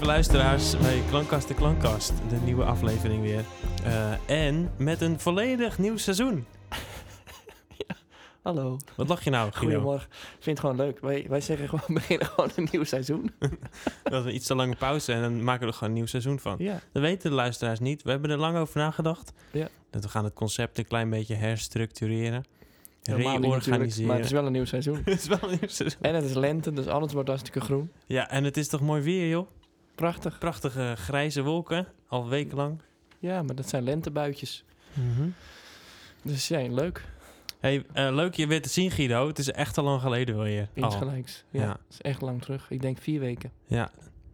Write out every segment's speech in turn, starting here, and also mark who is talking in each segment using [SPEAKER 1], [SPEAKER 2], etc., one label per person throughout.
[SPEAKER 1] luisteraars bij Klankkast de Klankkast. De nieuwe aflevering weer. Eh, en met een volledig nieuw seizoen.
[SPEAKER 2] Hallo,
[SPEAKER 1] Wat lach je nou, Guido?
[SPEAKER 2] goedemorgen. Ik vind het gewoon leuk. Wij, wij zeggen gewoon, we beginnen gewoon een nieuw seizoen.
[SPEAKER 1] We hadden iets te lange pauze en dan maken we er gewoon een nieuw seizoen van.
[SPEAKER 2] Ja.
[SPEAKER 1] Dat weten de luisteraars niet. We hebben er lang over nagedacht.
[SPEAKER 2] Ja.
[SPEAKER 1] Dat we gaan het concept een klein beetje herstructureren.
[SPEAKER 2] Helemaal niet natuurlijk,
[SPEAKER 1] Reorganiseren.
[SPEAKER 2] maar het is wel een nieuw seizoen.
[SPEAKER 1] het is wel een nieuw seizoen.
[SPEAKER 2] En het is lente, dus alles wordt hartstikke groen.
[SPEAKER 1] Ja, en het is toch mooi weer, joh.
[SPEAKER 2] Prachtig.
[SPEAKER 1] Prachtige grijze wolken, al wekenlang.
[SPEAKER 2] Ja, maar dat zijn lentebuitjes. Mhm. Dus ja, leuk.
[SPEAKER 1] Hey, eh, leuk je weer te zien, Guido. Het is echt al lang geleden wel weer. Al.
[SPEAKER 2] Iets gelijks. Ja,
[SPEAKER 1] Ja.
[SPEAKER 2] Dat is echt lang terug. Ik denk vier weken.
[SPEAKER 1] Ja,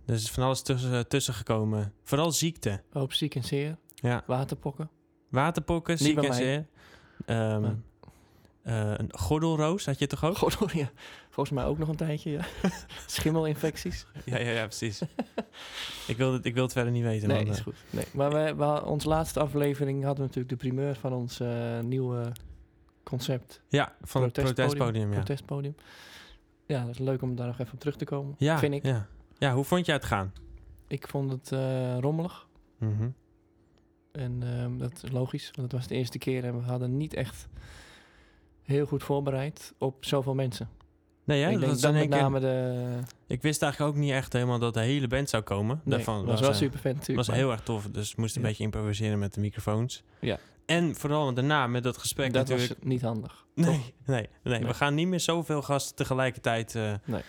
[SPEAKER 1] er is van alles tussen, tussen gekomen. Vooral ziekte.
[SPEAKER 2] Hoop ziek en zeer.
[SPEAKER 1] Ja.
[SPEAKER 2] Waterpokken.
[SPEAKER 1] Waterpokken, ziek
[SPEAKER 2] bij
[SPEAKER 1] en
[SPEAKER 2] mij.
[SPEAKER 1] zeer. Ehm,
[SPEAKER 2] Maar-
[SPEAKER 1] eh, een gordelroos had je toch ook?
[SPEAKER 2] Oh, God, ja. Volgens mij ook nog een tijdje, ja. Schimmelinfecties.
[SPEAKER 1] Ja, ja, ja precies. ik, wil het, ik wil het verder niet weten.
[SPEAKER 2] Nee,
[SPEAKER 1] man.
[SPEAKER 2] is goed. Nee. Maar we, we, onze laatste aflevering hadden we natuurlijk de primeur van ons eh, nieuwe concept.
[SPEAKER 1] Ja, van het
[SPEAKER 2] Protestpodium.
[SPEAKER 1] protestpodium. Ja.
[SPEAKER 2] protestpodium. Ja, dat is leuk om daar nog even op terug te komen,
[SPEAKER 1] ja,
[SPEAKER 2] vind ik.
[SPEAKER 1] Ja. ja, hoe vond jij het gaan?
[SPEAKER 2] Ik vond het eh, rommelig
[SPEAKER 1] Mhm.
[SPEAKER 2] en ehm, dat is logisch, want het was de eerste keer en we hadden niet echt heel goed voorbereid op zoveel mensen.
[SPEAKER 1] Nee, ja,
[SPEAKER 2] ik
[SPEAKER 1] dat
[SPEAKER 2] denk
[SPEAKER 1] was
[SPEAKER 2] dat
[SPEAKER 1] in
[SPEAKER 2] met
[SPEAKER 1] één keer-
[SPEAKER 2] name de...
[SPEAKER 1] ik wist eigenlijk ook niet echt helemaal dat de hele band zou komen.
[SPEAKER 2] Nee,
[SPEAKER 1] Daarvan
[SPEAKER 2] was wel
[SPEAKER 1] eh,
[SPEAKER 2] super vet natuurlijk.
[SPEAKER 1] was heel erg tof, dus moest een
[SPEAKER 2] Ja.
[SPEAKER 1] beetje improviseren met de microfoons.
[SPEAKER 2] Ja.
[SPEAKER 1] En vooral daarna met dat gesprek
[SPEAKER 2] maar dat
[SPEAKER 1] natuurlijk.
[SPEAKER 2] was niet handig.
[SPEAKER 1] Nee,
[SPEAKER 2] toch?
[SPEAKER 1] nee, nee,
[SPEAKER 2] Nee.
[SPEAKER 1] we gaan niet meer zoveel gasten tegelijkertijd. eh,
[SPEAKER 2] Nee.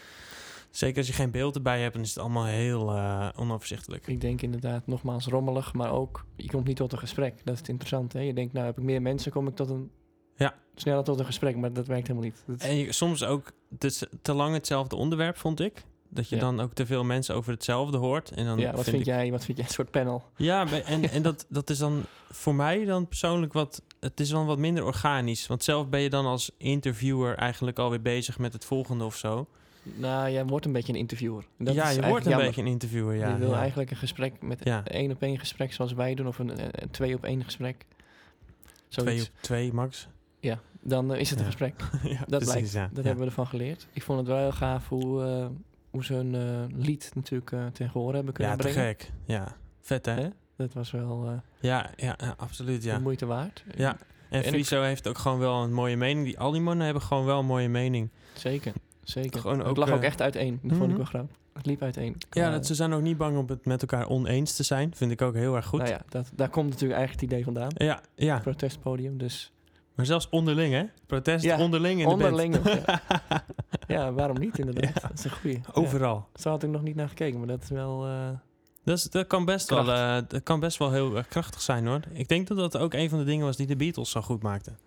[SPEAKER 1] Zeker als je geen beeld erbij hebt, dan is het allemaal heel eh, onoverzichtelijk.
[SPEAKER 2] Ik denk inderdaad nogmaals rommelig, maar ook je komt niet tot een gesprek. Dat is het interessante. Hè? Je denkt, nou heb ik meer mensen, kom ik tot een...
[SPEAKER 1] Ja.
[SPEAKER 2] Sneller tot een gesprek, maar dat werkt helemaal niet. Dat is-
[SPEAKER 1] En je- soms ook dus te lang hetzelfde onderwerp, vond ik. Dat je
[SPEAKER 2] Ja.
[SPEAKER 1] dan ook te veel mensen over hetzelfde hoort. En dan
[SPEAKER 2] ja, wat vind,
[SPEAKER 1] ik-
[SPEAKER 2] jij, wat vind jij een soort panel?
[SPEAKER 1] Ja, bij- en, en dat, dat is dan voor mij dan persoonlijk wat... Het is dan wat minder organisch. Want zelf ben je dan als interviewer eigenlijk alweer bezig met het volgende of zo.
[SPEAKER 2] Nou, jij wordt een beetje een interviewer. En dat
[SPEAKER 1] ja,
[SPEAKER 2] is
[SPEAKER 1] je
[SPEAKER 2] eigenlijk
[SPEAKER 1] wordt een
[SPEAKER 2] jammer.
[SPEAKER 1] beetje een interviewer. Ja,
[SPEAKER 2] je wil
[SPEAKER 1] ja.
[SPEAKER 2] eigenlijk een gesprek met
[SPEAKER 1] Ja.
[SPEAKER 2] een één op één gesprek zoals wij doen, of een, eh, een twee op één gesprek.
[SPEAKER 1] Twee
[SPEAKER 2] Zoiets.
[SPEAKER 1] op twee, max.
[SPEAKER 2] Ja, dan eh, is het een
[SPEAKER 1] Ja.
[SPEAKER 2] gesprek.
[SPEAKER 1] ja, dat
[SPEAKER 2] blijkt. Dat hebben we ervan geleerd. Ik vond het wel heel gaaf hoe, eh, hoe ze een eh, lied natuurlijk eh ten gehoor hebben kunnen
[SPEAKER 1] Ja, te
[SPEAKER 2] brengen.
[SPEAKER 1] gek. Ja, vet hè?
[SPEAKER 2] Hè? Dat was wel eh,
[SPEAKER 1] Ja, ja, ja, absoluut ja.
[SPEAKER 2] de moeite waard.
[SPEAKER 1] Ja. En
[SPEAKER 2] ik-
[SPEAKER 1] Friso heeft ook gewoon wel een mooie mening. Die, al die mannen hebben gewoon wel een mooie mening.
[SPEAKER 2] Zeker, zeker.
[SPEAKER 1] Gewoon ook,
[SPEAKER 2] het lag ook
[SPEAKER 1] eh,
[SPEAKER 2] echt uiteen. Dat vond ik
[SPEAKER 1] mhm.
[SPEAKER 2] wel grappig. Het liep Eh, uiteen.
[SPEAKER 1] Ja,
[SPEAKER 2] Maar,
[SPEAKER 1] dat, ze zijn ook niet bang om het met elkaar oneens te zijn. Vind ik ook heel erg goed.
[SPEAKER 2] Nou ja, dat, daar komt natuurlijk eigenlijk het idee vandaan.
[SPEAKER 1] ja, ja.
[SPEAKER 2] Protestpodium, dus
[SPEAKER 1] maar zelfs onderling hè? Protest
[SPEAKER 2] Ja,
[SPEAKER 1] onderling in de band.
[SPEAKER 2] onderling nog, ja, waarom niet inderdaad?
[SPEAKER 1] Ja.
[SPEAKER 2] Dat is een goeie. Ja.
[SPEAKER 1] Overal.
[SPEAKER 2] Zo had ik nog niet naar gekeken, maar dat is wel... eh,
[SPEAKER 1] Dat, is, dat, kan best wel,
[SPEAKER 2] Kracht.
[SPEAKER 1] eh, dat kan best wel heel erg krachtig zijn hoor. Ik denk dat dat ook een van de dingen was die de Beatles zo goed maakten.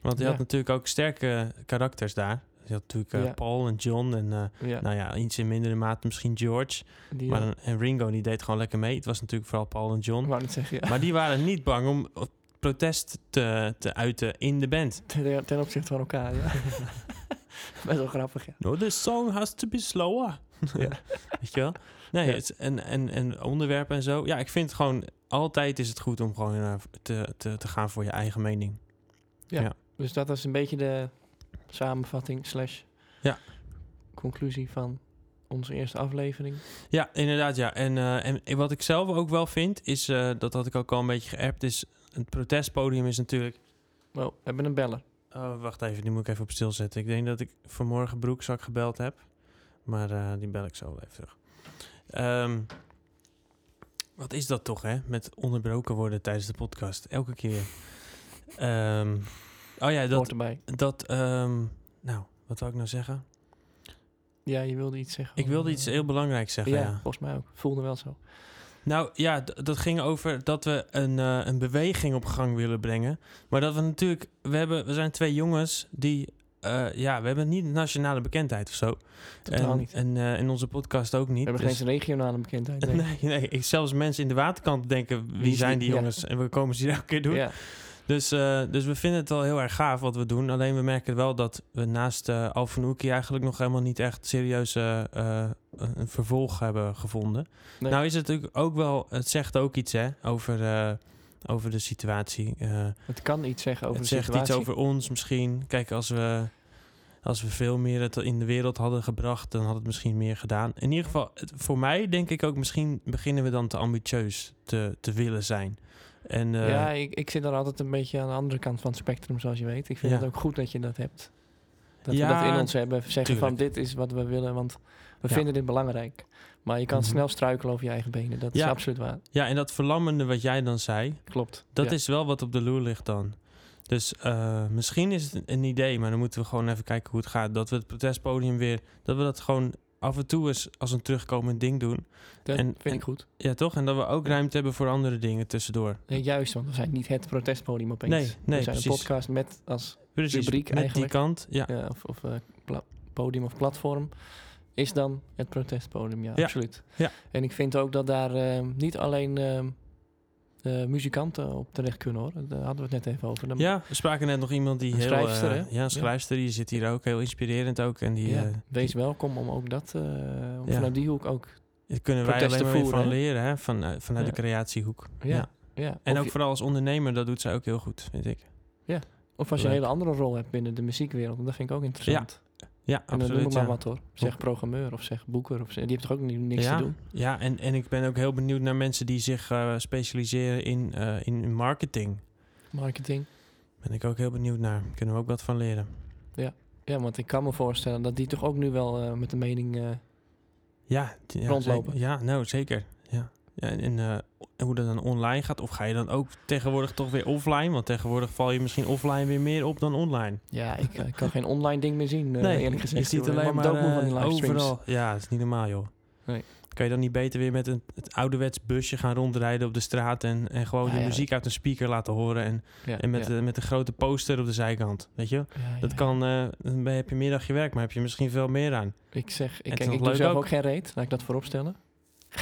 [SPEAKER 1] Want die
[SPEAKER 2] Ja.
[SPEAKER 1] had natuurlijk ook sterke karakters daar. Je had natuurlijk eh,
[SPEAKER 2] Ja.
[SPEAKER 1] Paul en John en eh,
[SPEAKER 2] ja,
[SPEAKER 1] nou ja, iets in mindere mate misschien George.
[SPEAKER 2] die, eh,
[SPEAKER 1] Maar dan- en Ringo die deed gewoon lekker mee. Het was natuurlijk vooral Paul en John.
[SPEAKER 2] ik wou niet zeggen, ja.
[SPEAKER 1] Maar die waren niet bang om eh, protest te, te uiten in de band.
[SPEAKER 2] Ten, ten opzichte van elkaar, ja. Best wel grappig, ja.
[SPEAKER 1] No, this song has to be slower.
[SPEAKER 2] Ja.
[SPEAKER 1] Weet je wel? Nee,
[SPEAKER 2] Ja.
[SPEAKER 1] het, is- en, en, en onderwerpen en zo. Ja, ik vind gewoon... Altijd is het goed om gewoon eh, te, te, te gaan voor je eigen mening.
[SPEAKER 2] Dus dat was een beetje de samenvatting slash
[SPEAKER 1] Ja.
[SPEAKER 2] conclusie van onze eerste aflevering.
[SPEAKER 1] Ja, inderdaad, ja. En, eh, en wat ik zelf ook wel vind, is... eh, dat had ik ook al een beetje geappt, is... Het protestpodium is natuurlijk...
[SPEAKER 2] Oh, we hebben een beller.
[SPEAKER 1] Oh, wacht even, die moet ik even op stil zetten. Ik denk dat ik vanmorgen broekzak gebeld heb. Maar eh, die bel ik zo wel even terug. Ehm, wat is dat toch, hè? Met onderbroken worden tijdens de podcast. Elke keer. Ehm, oh ja,
[SPEAKER 2] Hoort
[SPEAKER 1] dat...
[SPEAKER 2] erbij.
[SPEAKER 1] dat ehm, nou, wat wil ik nou zeggen?
[SPEAKER 2] Ja, je wilde iets zeggen.
[SPEAKER 1] Ik wilde iets heel belangrijks zeggen,
[SPEAKER 2] Oh. Ja,
[SPEAKER 1] ja.
[SPEAKER 2] volgens mij ook. Voelde wel zo.
[SPEAKER 1] Nou ja, d- dat ging over dat we een, eh, een beweging op gang willen brengen. Maar dat we natuurlijk, we, hebben, we zijn twee jongens die, eh, ja, we hebben niet nationale bekendheid of zo.
[SPEAKER 2] Totaal
[SPEAKER 1] en,
[SPEAKER 2] niet.
[SPEAKER 1] En eh, in onze podcast ook niet.
[SPEAKER 2] We hebben
[SPEAKER 1] dus-
[SPEAKER 2] geen regionale bekendheid.
[SPEAKER 1] nee, nee, ik- zelfs mensen in de waterkant denken, wie,
[SPEAKER 2] Wie is
[SPEAKER 1] zijn
[SPEAKER 2] die?
[SPEAKER 1] die
[SPEAKER 2] Ja.
[SPEAKER 1] jongens? En we komen ze hier elke keer doen.
[SPEAKER 2] Ja,
[SPEAKER 1] Dus, eh, dus we vinden het wel heel erg gaaf wat we doen. Alleen we merken wel dat we naast eh Alphenouki eigenlijk nog helemaal niet echt serieus eh, eh, een vervolg hebben gevonden.
[SPEAKER 2] Nee.
[SPEAKER 1] Nou is het natuurlijk ook wel, het zegt ook iets hè, over, eh, over de situatie. Eh,
[SPEAKER 2] het kan iets zeggen over
[SPEAKER 1] het
[SPEAKER 2] de
[SPEAKER 1] zegt
[SPEAKER 2] situatie.
[SPEAKER 1] iets over ons misschien. Kijk, als we Als we veel meer het in de wereld hadden gebracht, dan had het misschien meer gedaan. In ieder geval, het- voor mij denk ik ook, misschien beginnen we dan te ambitieus te, te willen zijn. En eh,
[SPEAKER 2] ja, ik, ik zit daar altijd een beetje aan de andere kant van het spectrum, zoals je weet. Ik vind
[SPEAKER 1] Ja.
[SPEAKER 2] het ook goed dat je dat hebt. Dat we
[SPEAKER 1] Ja,
[SPEAKER 2] dat in ons hebben. Zeggen van dit is wat we willen, want we
[SPEAKER 1] Ja.
[SPEAKER 2] vinden dit belangrijk. Maar je kan
[SPEAKER 1] Mhm.
[SPEAKER 2] snel struikelen over je eigen benen. Dat
[SPEAKER 1] Ja.
[SPEAKER 2] is absoluut waar.
[SPEAKER 1] ja, en dat verlammende wat jij dan zei,
[SPEAKER 2] Klopt.
[SPEAKER 1] Dat
[SPEAKER 2] Ja.
[SPEAKER 1] is wel wat op de loer ligt dan. Dus eh, misschien is het een- een idee, maar dan moeten we gewoon even kijken hoe het gaat. Dat we het protestpodium weer, dat we dat gewoon af en toe eens als een terugkomend ding doen.
[SPEAKER 2] dat
[SPEAKER 1] en-
[SPEAKER 2] vind
[SPEAKER 1] en-
[SPEAKER 2] ik goed.
[SPEAKER 1] Ja, toch? En dat we ook ruimte hebben voor andere dingen tussendoor.
[SPEAKER 2] Nee, juist, want we zijn niet het protestpodium opeens.
[SPEAKER 1] Nee, nee,
[SPEAKER 2] we zijn
[SPEAKER 1] precies.
[SPEAKER 2] een podcast met als
[SPEAKER 1] Precies,
[SPEAKER 2] Rubriek
[SPEAKER 1] met
[SPEAKER 2] eigenlijk.
[SPEAKER 1] die kant. Ja.
[SPEAKER 2] ja, of, of eh, pla- podium of platform is dan het protestpodium. Ja,
[SPEAKER 1] Ja.
[SPEAKER 2] absoluut.
[SPEAKER 1] Ja.
[SPEAKER 2] En ik vind ook dat daar eh, niet alleen eh, eh, muzikanten op terecht kunnen hoor. Daar hadden we het net even over. Dan-
[SPEAKER 1] ja, we spraken net nog iemand die
[SPEAKER 2] Een
[SPEAKER 1] heel...
[SPEAKER 2] schrijfster,
[SPEAKER 1] eh,
[SPEAKER 2] hè?
[SPEAKER 1] ja, een schrijfster. Die zit hier ook, heel inspirerend ook. En die,
[SPEAKER 2] Ja,
[SPEAKER 1] eh,
[SPEAKER 2] wees welkom om ook dat, eh, om
[SPEAKER 1] Ja.
[SPEAKER 2] vanuit die hoek ook.
[SPEAKER 1] daar kunnen wij alleen
[SPEAKER 2] protesten
[SPEAKER 1] maar weer
[SPEAKER 2] voeren,
[SPEAKER 1] van
[SPEAKER 2] hè?
[SPEAKER 1] leren, hè? Van, eh, vanuit
[SPEAKER 2] Ja.
[SPEAKER 1] de creatiehoek.
[SPEAKER 2] Ja, ja.
[SPEAKER 1] En
[SPEAKER 2] of,
[SPEAKER 1] ook
[SPEAKER 2] je-
[SPEAKER 1] vooral als ondernemer, dat doet zij ook heel goed, vind ik.
[SPEAKER 2] of als je een
[SPEAKER 1] Leuk.
[SPEAKER 2] hele andere rol hebt binnen de muziekwereld, want dat vind ik ook interessant.
[SPEAKER 1] Ja,
[SPEAKER 2] en dan noem
[SPEAKER 1] absoluut.
[SPEAKER 2] maar
[SPEAKER 1] ja.
[SPEAKER 2] wat hoor. Zeg programmeur of zeg boeker. Of zeg, die heeft toch ook ni- niks
[SPEAKER 1] ja,
[SPEAKER 2] te doen?
[SPEAKER 1] Ja, en, en ik ben ook heel benieuwd naar mensen die zich eh, specialiseren in, eh, in in marketing.
[SPEAKER 2] Marketing.
[SPEAKER 1] Ben ik ook heel benieuwd naar. Kunnen we ook wat van leren?
[SPEAKER 2] Ja, want ik kan me voorstellen dat die toch ook nu wel eh, met de mening. eh,
[SPEAKER 1] Ja, t- ja,
[SPEAKER 2] Rondlopen.
[SPEAKER 1] zeker. Ja, nou zeker. Ja. Ja, en en, eh, en hoe dat dan online gaat, of ga je dan ook tegenwoordig toch weer offline? Want tegenwoordig val je misschien offline weer meer op dan online.
[SPEAKER 2] ja, ik eh, kan geen online ding meer zien. eh, eerlijk gezegd.
[SPEAKER 1] je ziet
[SPEAKER 2] Ik
[SPEAKER 1] alleen
[SPEAKER 2] word
[SPEAKER 1] maar
[SPEAKER 2] doodmoe van die
[SPEAKER 1] eh,
[SPEAKER 2] livestreams.
[SPEAKER 1] overal. Ja, dat is niet normaal, joh.
[SPEAKER 2] Nee.
[SPEAKER 1] Kan je dan niet beter weer met een, het ouderwets busje gaan rondrijden op de straat en, en gewoon
[SPEAKER 2] Ja,
[SPEAKER 1] de
[SPEAKER 2] ja.
[SPEAKER 1] muziek uit een speaker laten horen en,
[SPEAKER 2] Ja,
[SPEAKER 1] en met,
[SPEAKER 2] ja.
[SPEAKER 1] de, met een grote poster op de zijkant, weet je?
[SPEAKER 2] Ja, ja,
[SPEAKER 1] Dat
[SPEAKER 2] ja.
[SPEAKER 1] kan, eh, dan ben- heb je middag je werk, maar heb je misschien veel meer aan.
[SPEAKER 2] Ik zeg, ik,
[SPEAKER 1] het is
[SPEAKER 2] kijk,
[SPEAKER 1] nog
[SPEAKER 2] ik doe
[SPEAKER 1] leuk
[SPEAKER 2] zelf
[SPEAKER 1] ook.
[SPEAKER 2] ook geen reet. Laat ik dat vooropstellen.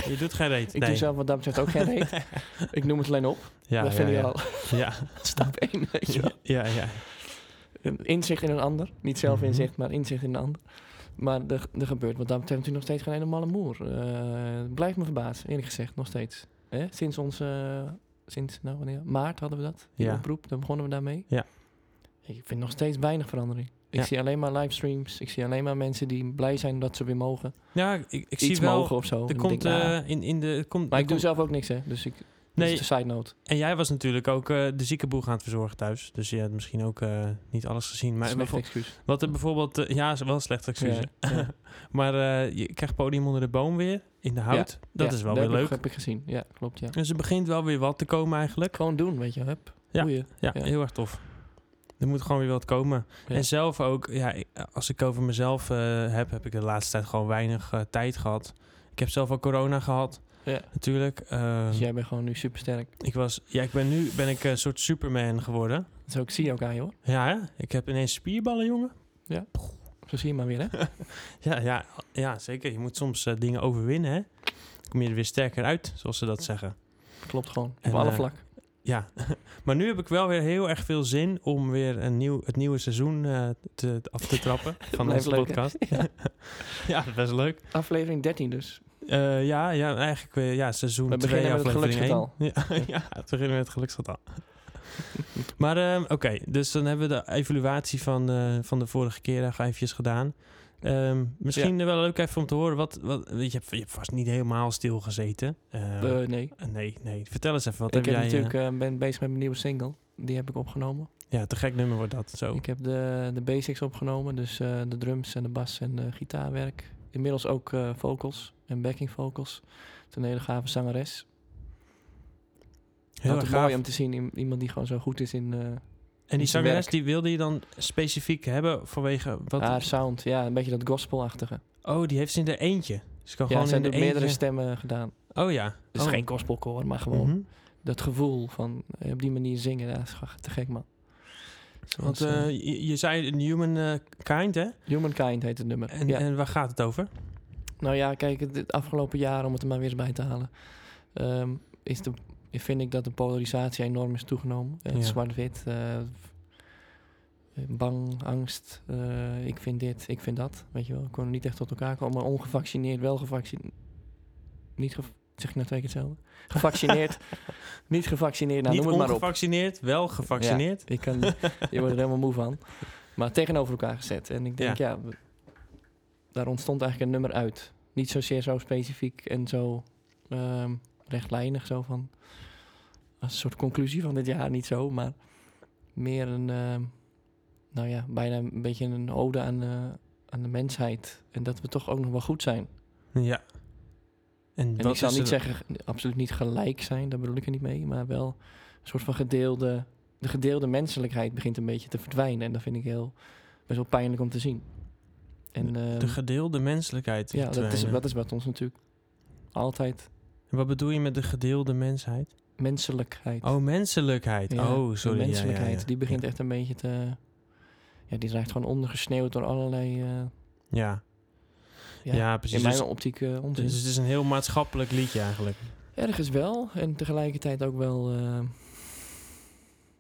[SPEAKER 1] Je doet geen reet.
[SPEAKER 2] Ik
[SPEAKER 1] nee.
[SPEAKER 2] doe zelf wat dat betreft ook geen reet. Ik noem het alleen op.
[SPEAKER 1] Ja,
[SPEAKER 2] dat
[SPEAKER 1] ja,
[SPEAKER 2] vind
[SPEAKER 1] ja.
[SPEAKER 2] ik al
[SPEAKER 1] Ja,
[SPEAKER 2] stap één. weet je wel.
[SPEAKER 1] ja, ja.
[SPEAKER 2] Een Inzicht in een ander. Niet zelf
[SPEAKER 1] Mhm.
[SPEAKER 2] inzicht, maar inzicht in een ander. Maar er, er gebeurt wat dat betreft natuurlijk nog steeds geen ene malle moer. Eh, het blijft me verbazen, eerlijk gezegd, nog steeds. Hè? Sinds onze... eh, sinds, nou wanneer? Maart hadden we dat. Die
[SPEAKER 1] Ja.
[SPEAKER 2] oproep, dan begonnen we daarmee.
[SPEAKER 1] Ja.
[SPEAKER 2] Ik vind nog steeds weinig verandering. Ik
[SPEAKER 1] Ja.
[SPEAKER 2] zie alleen maar livestreams. Ik zie alleen maar mensen die blij zijn dat ze weer mogen.
[SPEAKER 1] Ja, ik, ik
[SPEAKER 2] Iets
[SPEAKER 1] zie wel...
[SPEAKER 2] mogen of zo. En
[SPEAKER 1] Er
[SPEAKER 2] ik
[SPEAKER 1] komt
[SPEAKER 2] denk, nou,
[SPEAKER 1] eh, in, in de... er Komt,
[SPEAKER 2] maar
[SPEAKER 1] er
[SPEAKER 2] ik doe
[SPEAKER 1] komt-
[SPEAKER 2] zelf ook niks, hè. Dus ik... Nee.
[SPEAKER 1] Nee.
[SPEAKER 2] Dat is de side note.
[SPEAKER 1] En jij was natuurlijk ook eh, de zieke boel gaan het verzorgen thuis. Dus je hebt misschien ook eh, niet alles gezien. Maar
[SPEAKER 2] Slecht
[SPEAKER 1] bijvoorbeeld-
[SPEAKER 2] excuus.
[SPEAKER 1] wat er bijvoorbeeld... eh, ja, is wel een slecht excuus. hè.
[SPEAKER 2] Ja, ja.
[SPEAKER 1] maar eh, je krijgt podium onder de boom weer, in de hout. dat
[SPEAKER 2] Ja,
[SPEAKER 1] is wel
[SPEAKER 2] dat
[SPEAKER 1] weer
[SPEAKER 2] heb
[SPEAKER 1] leuk.
[SPEAKER 2] Ik, heb ik gezien. Ja, klopt, ja.
[SPEAKER 1] Dus er begint wel weer wat te komen eigenlijk.
[SPEAKER 2] Gewoon doen, weet je. Hup.
[SPEAKER 1] Ja.
[SPEAKER 2] Boeien.
[SPEAKER 1] Ja,
[SPEAKER 2] Ja.
[SPEAKER 1] heel erg tof. Er moet gewoon weer wat komen.
[SPEAKER 2] Ja.
[SPEAKER 1] En zelf ook, ja, ik- als ik over mezelf eh, heb, heb ik de laatste tijd gewoon weinig eh, tijd gehad. Ik heb zelf al corona gehad,
[SPEAKER 2] Ja.
[SPEAKER 1] natuurlijk. Eh,
[SPEAKER 2] Dus jij bent gewoon nu supersterk.
[SPEAKER 1] ik was, ja, ik ben nu ben ik een soort Superman geworden.
[SPEAKER 2] Zo, ik zie je Dus ook aan je hoor.
[SPEAKER 1] Ja, hè? ik heb ineens spierballen, jongen.
[SPEAKER 2] Zo zie je maar weer hè.
[SPEAKER 1] Ja, ja, ja zeker. Je moet soms eh, dingen overwinnen, hè. Kom je er weer sterker uit, zoals ze dat zeggen.
[SPEAKER 2] Klopt gewoon. Op
[SPEAKER 1] En,
[SPEAKER 2] alle
[SPEAKER 1] eh,
[SPEAKER 2] vlak.
[SPEAKER 1] Ja, maar nu heb ik wel weer heel erg veel zin om weer een nieuw, het nieuwe seizoen eh, te, af te trappen van
[SPEAKER 2] Blijft
[SPEAKER 1] onze
[SPEAKER 2] leuk, hè?
[SPEAKER 1] podcast. ja, best leuk.
[SPEAKER 2] Aflevering 13 dus.
[SPEAKER 1] Eh, ja, ja, eigenlijk eh, ja, seizoen
[SPEAKER 2] We
[SPEAKER 1] 2
[SPEAKER 2] beginnen met het
[SPEAKER 1] aflevering één. Ja, ja, we beginnen met het geluksgetal. maar ehm, oké, dus dan hebben we de evaluatie van, eh, van de vorige keer nog eventjes gedaan. Ehm, misschien wel leuk even om te horen, wat, wat, je, hebt, je hebt vast niet helemaal stilgezeten. Eh,
[SPEAKER 2] Eh, nee.
[SPEAKER 1] nee, nee, vertel eens even, wat
[SPEAKER 2] ik
[SPEAKER 1] heb
[SPEAKER 2] heb
[SPEAKER 1] jij... eh,
[SPEAKER 2] natuurlijk, eh, ben bezig met mijn nieuwe single. Die heb ik opgenomen.
[SPEAKER 1] ja, te gek nummer wordt dat, zo.
[SPEAKER 2] Ik heb de, de basics opgenomen. Dus eh, de drums en de bas en de gitaarwerk. Inmiddels ook eh, vocals en backing vocals. Het is een hele gave zangeres.
[SPEAKER 1] Heel
[SPEAKER 2] Altijd
[SPEAKER 1] erg
[SPEAKER 2] mooi
[SPEAKER 1] gaaf.
[SPEAKER 2] om te zien. i- Iemand die gewoon zo goed is in eh,
[SPEAKER 1] En die
[SPEAKER 2] zijn
[SPEAKER 1] zangeres,
[SPEAKER 2] werk.
[SPEAKER 1] die wilde je dan specifiek hebben vanwege... Wat,
[SPEAKER 2] haar sound. Ja, een beetje dat gospelachtige.
[SPEAKER 1] oh, die heeft ze in de eentje. Dus kan
[SPEAKER 2] Ja,
[SPEAKER 1] gewoon
[SPEAKER 2] ze
[SPEAKER 1] in de
[SPEAKER 2] hebben meerdere
[SPEAKER 1] eentje...
[SPEAKER 2] stemmen gedaan.
[SPEAKER 1] Oh ja.
[SPEAKER 2] Dus
[SPEAKER 1] Oh.
[SPEAKER 2] geen gospelkoor, maar gewoon
[SPEAKER 1] Mhm.
[SPEAKER 2] dat gevoel van eh, op die manier zingen, dat is gewoon te gek man.
[SPEAKER 1] Want
[SPEAKER 2] Zoals, eh,
[SPEAKER 1] eh, je, je zei een human eh, kind, hè?
[SPEAKER 2] Humankind heet het nummer.
[SPEAKER 1] En,
[SPEAKER 2] ja.
[SPEAKER 1] en waar gaat het over?
[SPEAKER 2] Nou ja, kijk, het, het afgelopen jaar, om het er maar weer eens bij te halen, ehm, is de, vind ik dat de polarisatie enorm is toegenomen. Eh,
[SPEAKER 1] Ja.
[SPEAKER 2] Zwart-wit, eh, bang, angst, eh, ik vind dit, ik vind dat. Weet je wel, ik kon niet echt tot elkaar komen. Maar ongevaccineerd, wel gevaccineerd, niet ge- zeg ik nou twee keer hetzelfde? Gevaccineerd, niet gevaccineerd, nou
[SPEAKER 1] Niet
[SPEAKER 2] noem het maar op.
[SPEAKER 1] ongevaccineerd, wel gevaccineerd.
[SPEAKER 2] Ik kan, je wordt er helemaal moe van. Maar tegenover elkaar gezet. En ik denk, ja, we- daar ontstond eigenlijk een nummer uit. Niet zozeer zo specifiek en zo ehm, rechtlijnig, zo van als een soort conclusie van dit jaar, niet zo, maar meer een, ehm, nou ja, bijna een beetje een ode aan de, aan de mensheid. En dat we toch ook nog wel goed zijn.
[SPEAKER 1] Ja. En,
[SPEAKER 2] En
[SPEAKER 1] dat
[SPEAKER 2] ik zal
[SPEAKER 1] is eh,
[SPEAKER 2] niet
[SPEAKER 1] er-
[SPEAKER 2] zeggen, absoluut niet gelijk zijn, daar bedoel ik er niet mee, maar wel een soort van gedeelde, de gedeelde menselijkheid begint een beetje te verdwijnen. En dat vind ik heel, best wel pijnlijk om te zien. En ehm,
[SPEAKER 1] de gedeelde menselijkheid.
[SPEAKER 2] ja, dat is,
[SPEAKER 1] verdwijnen.
[SPEAKER 2] dat is wat ons natuurlijk altijd
[SPEAKER 1] En Wat bedoel je met de gedeelde mensheid?
[SPEAKER 2] menselijkheid.
[SPEAKER 1] Oh, menselijkheid.
[SPEAKER 2] Ja,
[SPEAKER 1] oh,
[SPEAKER 2] die
[SPEAKER 1] sorry. ja, ja,
[SPEAKER 2] menselijkheid,
[SPEAKER 1] ja.
[SPEAKER 2] die begint echt een beetje te... Ja, die raakt gewoon ondergesneeuwd door allerlei... eh,
[SPEAKER 1] Ja. Ja,
[SPEAKER 2] Ja,
[SPEAKER 1] precies.
[SPEAKER 2] in
[SPEAKER 1] Dus-
[SPEAKER 2] mijn optiek eh onzin.
[SPEAKER 1] dus het is een heel maatschappelijk liedje eigenlijk.
[SPEAKER 2] Ergens wel. En tegelijkertijd ook wel... eh,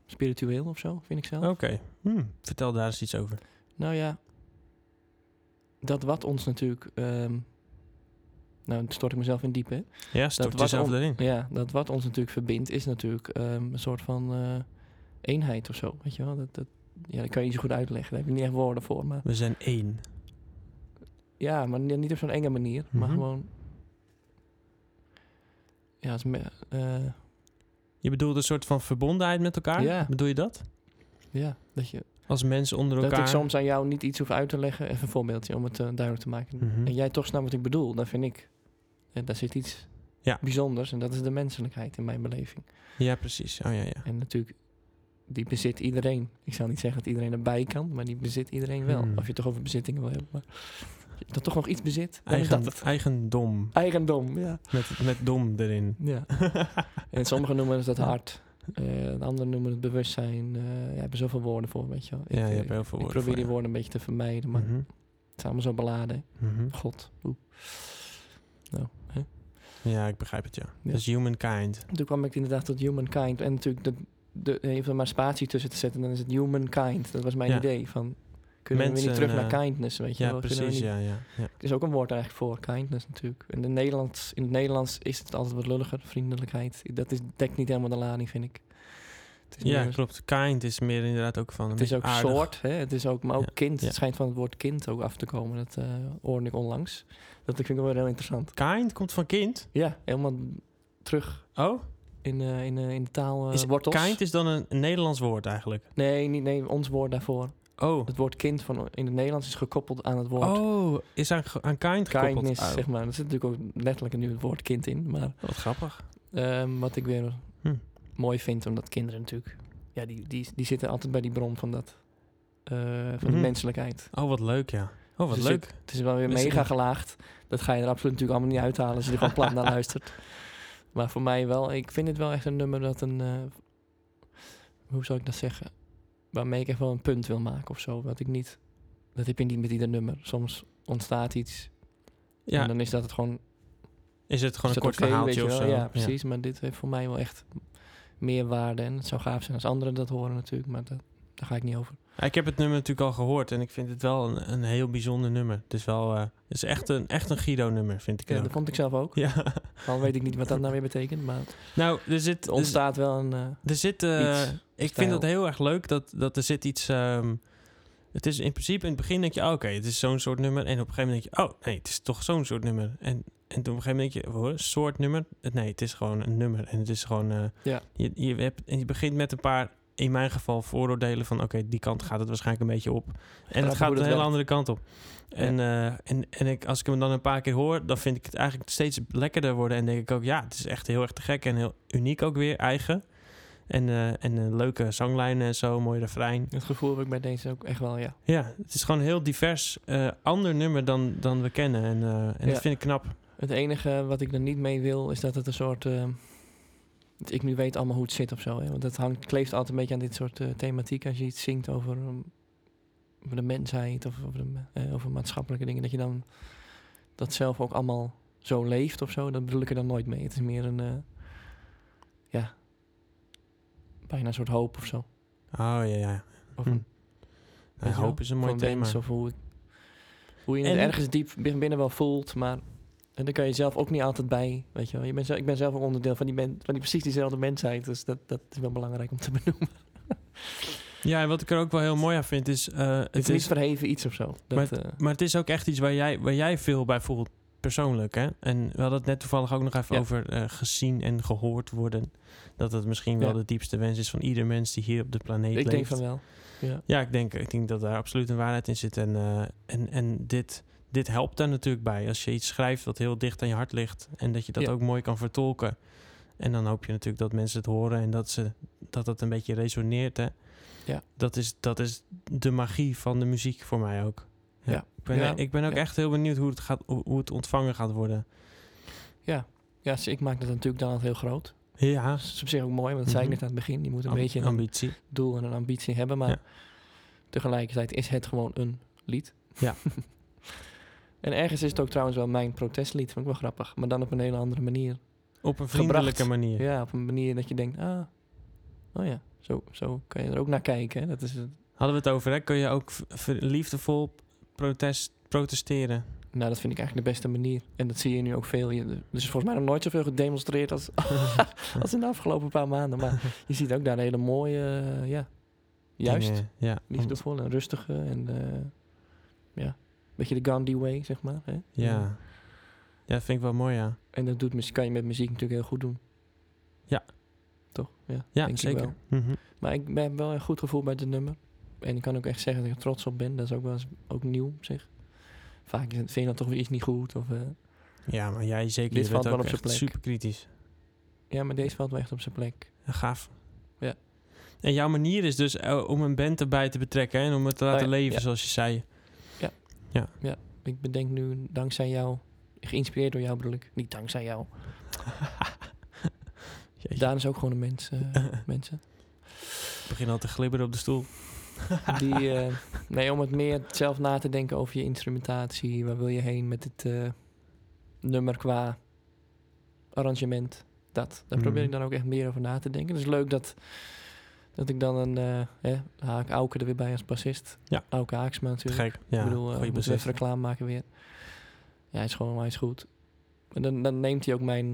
[SPEAKER 2] spiritueel of zo, vind ik zelf.
[SPEAKER 1] Oké. Hm, vertel daar eens iets over.
[SPEAKER 2] Nou ja, dat wat ons natuurlijk... ehm, nou, dan stort ik mezelf in diep, hè.
[SPEAKER 1] Ja, stort
[SPEAKER 2] wat
[SPEAKER 1] jezelf
[SPEAKER 2] om-
[SPEAKER 1] erin.
[SPEAKER 2] Ja, dat wat ons natuurlijk verbindt is natuurlijk ehm, een soort van eh, eenheid of zo. Weet je wel? Dat, dat, ja, dat kan je niet zo goed uitleggen. Daar heb ik niet echt woorden voor, maar...
[SPEAKER 1] We zijn één.
[SPEAKER 2] Ja, maar ni- niet op zo'n enge manier, maar
[SPEAKER 1] Mhm.
[SPEAKER 2] gewoon. Ja, als me- eh,
[SPEAKER 1] Je bedoelt een soort van verbondenheid met elkaar?
[SPEAKER 2] Ja.
[SPEAKER 1] Bedoel je dat?
[SPEAKER 2] ja, dat, je,
[SPEAKER 1] Als mensen onder
[SPEAKER 2] dat
[SPEAKER 1] elkaar.
[SPEAKER 2] ik soms aan jou niet iets hoef uit te leggen. Even een voorbeeldje om het eh, duidelijk te maken.
[SPEAKER 1] Mhm.
[SPEAKER 2] En jij toch snapt wat ik bedoel, dan vind ik. eh, daar zit iets
[SPEAKER 1] Ja.
[SPEAKER 2] bijzonders en dat is de menselijkheid in mijn beleving.
[SPEAKER 1] Ja, precies. Oh ja, ja.
[SPEAKER 2] En natuurlijk, die bezit iedereen. Ik zou niet zeggen dat iedereen erbij kan, maar die bezit iedereen wel.
[SPEAKER 1] Hmm.
[SPEAKER 2] Of je het toch over bezittingen wil hebben. Maar dat toch nog iets bezit, dan is dat
[SPEAKER 1] Eigen,
[SPEAKER 2] het.
[SPEAKER 1] eigendom.
[SPEAKER 2] Eigendom, ja.
[SPEAKER 1] Met, met dom erin.
[SPEAKER 2] Ja. en sommigen noemen het het hart. eh, en anderen noemen het bewustzijn. eh je hebt er zoveel woorden voor, weet je wel.
[SPEAKER 1] Ja, je
[SPEAKER 2] eh,
[SPEAKER 1] hebt heel veel
[SPEAKER 2] ik
[SPEAKER 1] woorden.
[SPEAKER 2] probeer
[SPEAKER 1] voor,
[SPEAKER 2] die
[SPEAKER 1] ja.
[SPEAKER 2] woorden een beetje te vermijden, maar
[SPEAKER 1] Mhm,
[SPEAKER 2] het is allemaal zo beladen.
[SPEAKER 1] mhm.
[SPEAKER 2] God. Oeh.
[SPEAKER 1] Ja, ik begrijp het, ja.
[SPEAKER 2] Ja.
[SPEAKER 1] Dat is humankind.
[SPEAKER 2] Toen kwam ik inderdaad tot humankind. En natuurlijk, de, de, je hoeft er maar spatie tussen te zetten. Dan is het humankind. Dat was mijn
[SPEAKER 1] Ja.
[SPEAKER 2] idee. Van, kunnen we
[SPEAKER 1] Mensen,
[SPEAKER 2] weer niet terug
[SPEAKER 1] eh,
[SPEAKER 2] naar kindness, weet je
[SPEAKER 1] Ja,
[SPEAKER 2] wel? Kunnen we
[SPEAKER 1] precies.
[SPEAKER 2] niet-
[SPEAKER 1] Ja, ja, ja.
[SPEAKER 2] Er is ook een woord eigenlijk voor, kindness natuurlijk. En in, Nederlands, in het Nederlands is het altijd wat lulliger, vriendelijkheid. Dat is, dekt niet helemaal de lading, vind ik. Het is
[SPEAKER 1] ja
[SPEAKER 2] meer-
[SPEAKER 1] klopt. Kind is meer inderdaad ook van een
[SPEAKER 2] Het is
[SPEAKER 1] beetje
[SPEAKER 2] ook
[SPEAKER 1] aardig.
[SPEAKER 2] soort, hè? het is ook, maar ook
[SPEAKER 1] Ja,
[SPEAKER 2] kind.
[SPEAKER 1] ja.
[SPEAKER 2] Het schijnt van het woord kind ook af te komen. Dat eh hoorde ik onlangs. Dat vind ik wel heel interessant.
[SPEAKER 1] Kind komt van kind.
[SPEAKER 2] Ja, helemaal terug
[SPEAKER 1] Oh,
[SPEAKER 2] in, eh, in, eh, in de taal eh,
[SPEAKER 1] is
[SPEAKER 2] wortels.
[SPEAKER 1] kind is dan een, een Nederlands woord eigenlijk.
[SPEAKER 2] Nee, niet, nee, ons woord daarvoor.
[SPEAKER 1] Oh,
[SPEAKER 2] Het woord kind van, in het Nederlands is gekoppeld aan het woord
[SPEAKER 1] oh is aan, ge- aan kind gekoppeld.
[SPEAKER 2] kindness,
[SPEAKER 1] Oh,
[SPEAKER 2] zeg maar. Er zit natuurlijk ook letterlijk nu het woord kind in. Maar
[SPEAKER 1] Wat grappig.
[SPEAKER 2] ehm, wat ik weer
[SPEAKER 1] Hm.
[SPEAKER 2] mooi vind, omdat kinderen natuurlijk... Ja, die, die, die zitten altijd bij die bron van dat... eh, van
[SPEAKER 1] Mhm.
[SPEAKER 2] de menselijkheid.
[SPEAKER 1] Oh, wat leuk, ja. Oh, wat
[SPEAKER 2] Dus
[SPEAKER 1] leuk.
[SPEAKER 2] Het is wel weer
[SPEAKER 1] Dus
[SPEAKER 2] mega
[SPEAKER 1] ik-
[SPEAKER 2] gelaagd. Dat ga je er absoluut natuurlijk allemaal niet uithalen als je er gewoon plat naar luistert. Maar voor mij wel, ik vind het wel echt een nummer dat een. eh, hoe zou ik dat zeggen? Waarmee ik echt wel een punt wil maken of zo. Wat ik niet. Dat heb je niet met ieder nummer. Soms ontstaat iets. En
[SPEAKER 1] Ja,
[SPEAKER 2] dan is dat het gewoon.
[SPEAKER 1] is het gewoon
[SPEAKER 2] is
[SPEAKER 1] een
[SPEAKER 2] dat
[SPEAKER 1] kort
[SPEAKER 2] oké,
[SPEAKER 1] verhaaltje
[SPEAKER 2] weet
[SPEAKER 1] of
[SPEAKER 2] je
[SPEAKER 1] zo?
[SPEAKER 2] wel. Ja, precies. Maar dit heeft voor mij wel echt meer waarde. En het zou gaaf zijn als anderen dat horen natuurlijk. Maar dat, daar ga ik niet over.
[SPEAKER 1] Ik heb het nummer natuurlijk al gehoord en ik vind het wel een, een heel bijzonder nummer. Het is wel, eh, het is echt een, echt een Guido-nummer, vind ik.
[SPEAKER 2] Ja,
[SPEAKER 1] het
[SPEAKER 2] dat
[SPEAKER 1] ook.
[SPEAKER 2] vond ik zelf ook.
[SPEAKER 1] ja.
[SPEAKER 2] Al weet ik niet wat dat nou weer betekent. Maar
[SPEAKER 1] Nou, er zit,
[SPEAKER 2] het
[SPEAKER 1] er,
[SPEAKER 2] ontstaat wel een. eh,
[SPEAKER 1] er zit eh,
[SPEAKER 2] Iets.
[SPEAKER 1] ik vind
[SPEAKER 2] Stijl.
[SPEAKER 1] dat heel erg leuk dat, dat er zit iets. ehm, het is in principe in het begin denk je, oh, oké, het is zo'n soort nummer. En op een gegeven moment denk je, oh nee, het is toch zo'n soort nummer. En, en toen op een gegeven moment denk je, hoor, soort nummer. Het- Nee, het is gewoon een nummer. En het is gewoon. eh,
[SPEAKER 2] Ja.
[SPEAKER 1] je, je, hebt, en je begint met een paar, in mijn geval, vooroordelen van, oké, die kant gaat het waarschijnlijk een beetje op. En het
[SPEAKER 2] Grappig
[SPEAKER 1] gaat
[SPEAKER 2] hoe
[SPEAKER 1] een
[SPEAKER 2] dat
[SPEAKER 1] hele
[SPEAKER 2] werkt.
[SPEAKER 1] andere kant op. En, eh, en, en ik, als ik hem dan een paar keer hoor, dan vind ik het eigenlijk steeds lekkerder worden. En denk ik ook, ja, het is echt heel erg te gek en heel uniek ook weer, eigen. En, eh, en eh, leuke zanglijnen en zo, mooi refrein.
[SPEAKER 2] Het gevoel heb ik bij deze ook echt wel, ja.
[SPEAKER 1] Ja, het is gewoon heel divers. eh, ander nummer dan, dan we kennen. En, eh, en dat
[SPEAKER 2] Ja.
[SPEAKER 1] vind ik knap.
[SPEAKER 2] Het enige wat ik er niet mee wil, is dat het een soort... eh, dat ik nu weet allemaal hoe het zit of zo. Hè? Want dat hangt, kleeft altijd een beetje aan dit soort eh, thematiek. Als je iets zingt over, ehm, over de mensheid of over, de, ma- eh, over maatschappelijke dingen... dat je dan dat zelf ook allemaal zo leeft of zo. Dat bedoel ik er dan nooit mee. Het is meer een... eh, ja, bijna een soort hoop of zo.
[SPEAKER 1] Oh ja, ja.
[SPEAKER 2] Of
[SPEAKER 1] Hm.
[SPEAKER 2] een,
[SPEAKER 1] Nou,
[SPEAKER 2] je wel,
[SPEAKER 1] hoop is een mooi
[SPEAKER 2] van
[SPEAKER 1] thema.
[SPEAKER 2] wens of hoe, ik- hoe je het
[SPEAKER 1] En-
[SPEAKER 2] ergens diep bin- binnen wel voelt, maar en daar kan je zelf ook niet altijd bij, weet je wel. Je bent zelf, ik ben zelf ook onderdeel van die, men, van die precies diezelfde mensheid, dus dat, dat is wel belangrijk om te benoemen.
[SPEAKER 1] Ja, en wat ik er ook wel heel mooi aan vind is... eh,
[SPEAKER 2] Het
[SPEAKER 1] het
[SPEAKER 2] is niet
[SPEAKER 1] is
[SPEAKER 2] verheven iets of zo. Dat, eh,
[SPEAKER 1] maar het is ook echt iets waar jij, waar jij veel bij voelt persoonlijk, hè? En we hadden het net toevallig ook nog even
[SPEAKER 2] Ja.
[SPEAKER 1] over eh, gezien en gehoord worden. Dat het misschien wel
[SPEAKER 2] Ja.
[SPEAKER 1] de diepste wens is van ieder mens die hier op de planeet
[SPEAKER 2] ik
[SPEAKER 1] leeft.
[SPEAKER 2] denk van wel.
[SPEAKER 1] Ja, ik denk, ik denk dat daar absoluut een waarheid in zit. En, eh, en, en dit, dit helpt daar natuurlijk bij. Als je iets schrijft wat heel dicht aan je hart ligt. En dat je dat
[SPEAKER 2] Ja.
[SPEAKER 1] ook mooi kan vertolken. En dan hoop je natuurlijk dat mensen het horen en dat ze, dat het een beetje resoneert. Hè?
[SPEAKER 2] Ja.
[SPEAKER 1] Dat, is, dat is de magie van de muziek voor mij ook.
[SPEAKER 2] Ja.
[SPEAKER 1] Ik, ben,
[SPEAKER 2] Ja.
[SPEAKER 1] ik ben ook
[SPEAKER 2] Ja.
[SPEAKER 1] echt heel benieuwd hoe het, gaat, hoe hoe het ontvangen gaat worden.
[SPEAKER 2] Ja, dus ik maak dat natuurlijk dan altijd heel groot.
[SPEAKER 1] Ja,
[SPEAKER 2] Dat is op zich ook mooi, want dat zei ik
[SPEAKER 1] Mhm.
[SPEAKER 2] net aan het begin. Je moet een
[SPEAKER 1] am-
[SPEAKER 2] beetje een
[SPEAKER 1] ambitie.
[SPEAKER 2] doel en een ambitie hebben. Maar
[SPEAKER 1] Ja.
[SPEAKER 2] tegelijkertijd is het gewoon een lied.
[SPEAKER 1] Ja.
[SPEAKER 2] en ergens is het ook trouwens wel mijn protestlied. Vind ik wel grappig. Maar dan op een hele andere manier.
[SPEAKER 1] Op een vriendelijke manier.
[SPEAKER 2] Ja, op een manier dat je denkt... Ah, oh ja, zo, zo kan je er ook naar kijken. Hè. Dat is, het-
[SPEAKER 1] Hadden we het over, hè? Kun je ook v- v- liefdevol protest, protesteren?
[SPEAKER 2] nou, dat vind ik eigenlijk de beste manier. En dat zie je nu ook veel. Je, er is volgens mij nog nooit zoveel gedemonstreerd als, als in de afgelopen paar maanden. Maar je ziet ook daar hele mooie... eh, ja, juist.
[SPEAKER 1] Dingen, ja. om-
[SPEAKER 2] Liefdevol en rustige en eh, ja, een beetje de Gandhi way, zeg maar. Hè?
[SPEAKER 1] Ja. Ja, dat vind ik wel mooi, ja.
[SPEAKER 2] En dat doet, muzie- kan je met muziek natuurlijk heel goed doen.
[SPEAKER 1] Ja.
[SPEAKER 2] Toch? Ja,
[SPEAKER 1] Ja,
[SPEAKER 2] denk
[SPEAKER 1] zeker.
[SPEAKER 2] Ik wel.
[SPEAKER 1] Mhm.
[SPEAKER 2] Maar ik ben- heb wel een goed gevoel bij dit nummer. En ik kan ook echt zeggen dat ik er trots op ben. Dat is ook wel eens ook nieuw op zich. Vaak is het- vind je dan toch weer iets niet goed. Of, eh,
[SPEAKER 1] Ja, maar jij zeker.
[SPEAKER 2] Dit
[SPEAKER 1] je bent
[SPEAKER 2] valt wel
[SPEAKER 1] ook
[SPEAKER 2] op zijn
[SPEAKER 1] echt
[SPEAKER 2] plek.
[SPEAKER 1] super kritisch.
[SPEAKER 2] ja, maar deze valt wel echt op zijn plek.
[SPEAKER 1] Gaaf.
[SPEAKER 2] Ja.
[SPEAKER 1] En jouw manier is dus eh, om een band erbij te betrekken hè, en om het te
[SPEAKER 2] Oh
[SPEAKER 1] laten
[SPEAKER 2] ja,
[SPEAKER 1] leven,
[SPEAKER 2] ja.
[SPEAKER 1] zoals je zei.
[SPEAKER 2] Ik bedenk nu dankzij jou, geïnspireerd door jou bedoel ik. Niet dankzij jou.
[SPEAKER 1] Jeetje,
[SPEAKER 2] Daan is ook gewoon een mens, eh, mensen.
[SPEAKER 1] ik begin al te glibberen op de stoel.
[SPEAKER 2] Die, eh, nee, om het meer zelf na te denken over je instrumentatie. Waar wil je heen met het eh, nummer qua arrangement? Dat. Daar probeer
[SPEAKER 1] Mhm.
[SPEAKER 2] ik dan ook echt meer over na te denken. Het is leuk dat, dat ik dan een... eh, hè, haak Auke er weer bij als bassist.
[SPEAKER 1] Ja.
[SPEAKER 2] Auke
[SPEAKER 1] Te
[SPEAKER 2] Haaksma natuurlijk.
[SPEAKER 1] gek. Ja,
[SPEAKER 2] ik bedoel, eh
[SPEAKER 1] goeie
[SPEAKER 2] moeten we
[SPEAKER 1] bezit.
[SPEAKER 2] even reclame maken weer. Ja, hij is gewoon hij is goed. En dan, dan neemt hij ook mijn...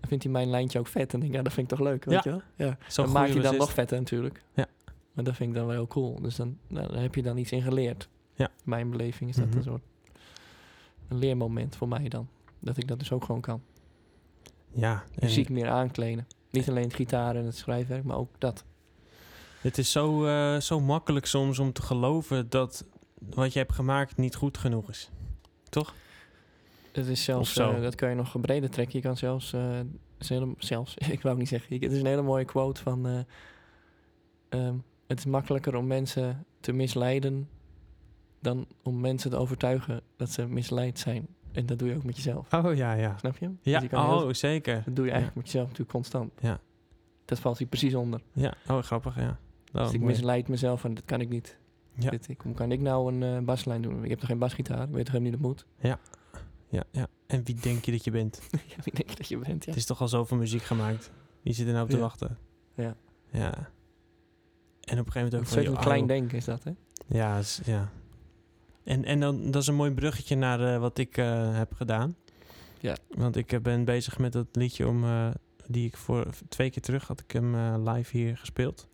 [SPEAKER 2] dan vindt hij mijn lijntje ook vet. En denk ik, ja, dat vind ik toch leuk, weet je wel? Ja
[SPEAKER 1] Zo'n
[SPEAKER 2] dan maak
[SPEAKER 1] goeie
[SPEAKER 2] je dan
[SPEAKER 1] bassist.
[SPEAKER 2] nog vetter natuurlijk.
[SPEAKER 1] Ja.
[SPEAKER 2] Maar dat vind ik dan wel heel cool. Dus dan, nou, daar heb je dan iets in geleerd.
[SPEAKER 1] Ja.
[SPEAKER 2] In Mijn beleving is dat
[SPEAKER 1] Mhm.
[SPEAKER 2] een soort een leermoment voor mij dan. Dat ik dat dus ook gewoon kan.
[SPEAKER 1] Ja, en
[SPEAKER 2] Muziek meer aankleden. Niet alleen het gitaar en het schrijfwerk, maar ook dat.
[SPEAKER 1] het is zo, eh, zo makkelijk soms om te geloven dat wat je hebt gemaakt niet goed genoeg is.
[SPEAKER 2] Het is
[SPEAKER 1] Of
[SPEAKER 2] zelfs,
[SPEAKER 1] zo.
[SPEAKER 2] eh, dat kan je nog breder trekken. Je kan zelfs, eh, het is een hele- zelfs ik wou ook niet zeggen, Ik- het is een hele mooie quote van... eh, ehm, het is makkelijker om mensen te misleiden dan om mensen te overtuigen dat ze misleid zijn. En dat doe je ook met jezelf.
[SPEAKER 1] Oh ja, ja.
[SPEAKER 2] Snap je? hem?
[SPEAKER 1] Ja,
[SPEAKER 2] Dus je kan heel-
[SPEAKER 1] oh zeker.
[SPEAKER 2] dat doe je eigenlijk met jezelf natuurlijk constant.
[SPEAKER 1] Ja.
[SPEAKER 2] Dat valt hier precies onder.
[SPEAKER 1] Ja, oh grappig, ja. Oh,
[SPEAKER 2] dus ik
[SPEAKER 1] mooi.
[SPEAKER 2] misleid mezelf van dat kan ik niet.
[SPEAKER 1] Ja.
[SPEAKER 2] Dit, ik, hoe kan ik nou een eh, baslijn doen? Ik heb toch geen basgitaar? Ik weet toch helemaal niet hoe dat moet?
[SPEAKER 1] ja, ja. En wie denk je dat je bent?
[SPEAKER 2] ja, wie denk je dat je bent? Ja.
[SPEAKER 1] Het is toch al zoveel muziek gemaakt. Wie zit er nou op te
[SPEAKER 2] Ja.
[SPEAKER 1] wachten?
[SPEAKER 2] Ja.
[SPEAKER 1] Ja. En op een gegeven moment ook van...
[SPEAKER 2] Een soort een
[SPEAKER 1] joh,
[SPEAKER 2] klein
[SPEAKER 1] oh.
[SPEAKER 2] denken is dat, hè?
[SPEAKER 1] Ja, is- ja. En, en dan, dat is een mooi bruggetje naar eh, wat ik eh, heb gedaan.
[SPEAKER 2] Ja.
[SPEAKER 1] Want ik eh, ben bezig met dat liedje om, eh, die ik voor twee keer terug had ik hem eh, live hier gespeeld.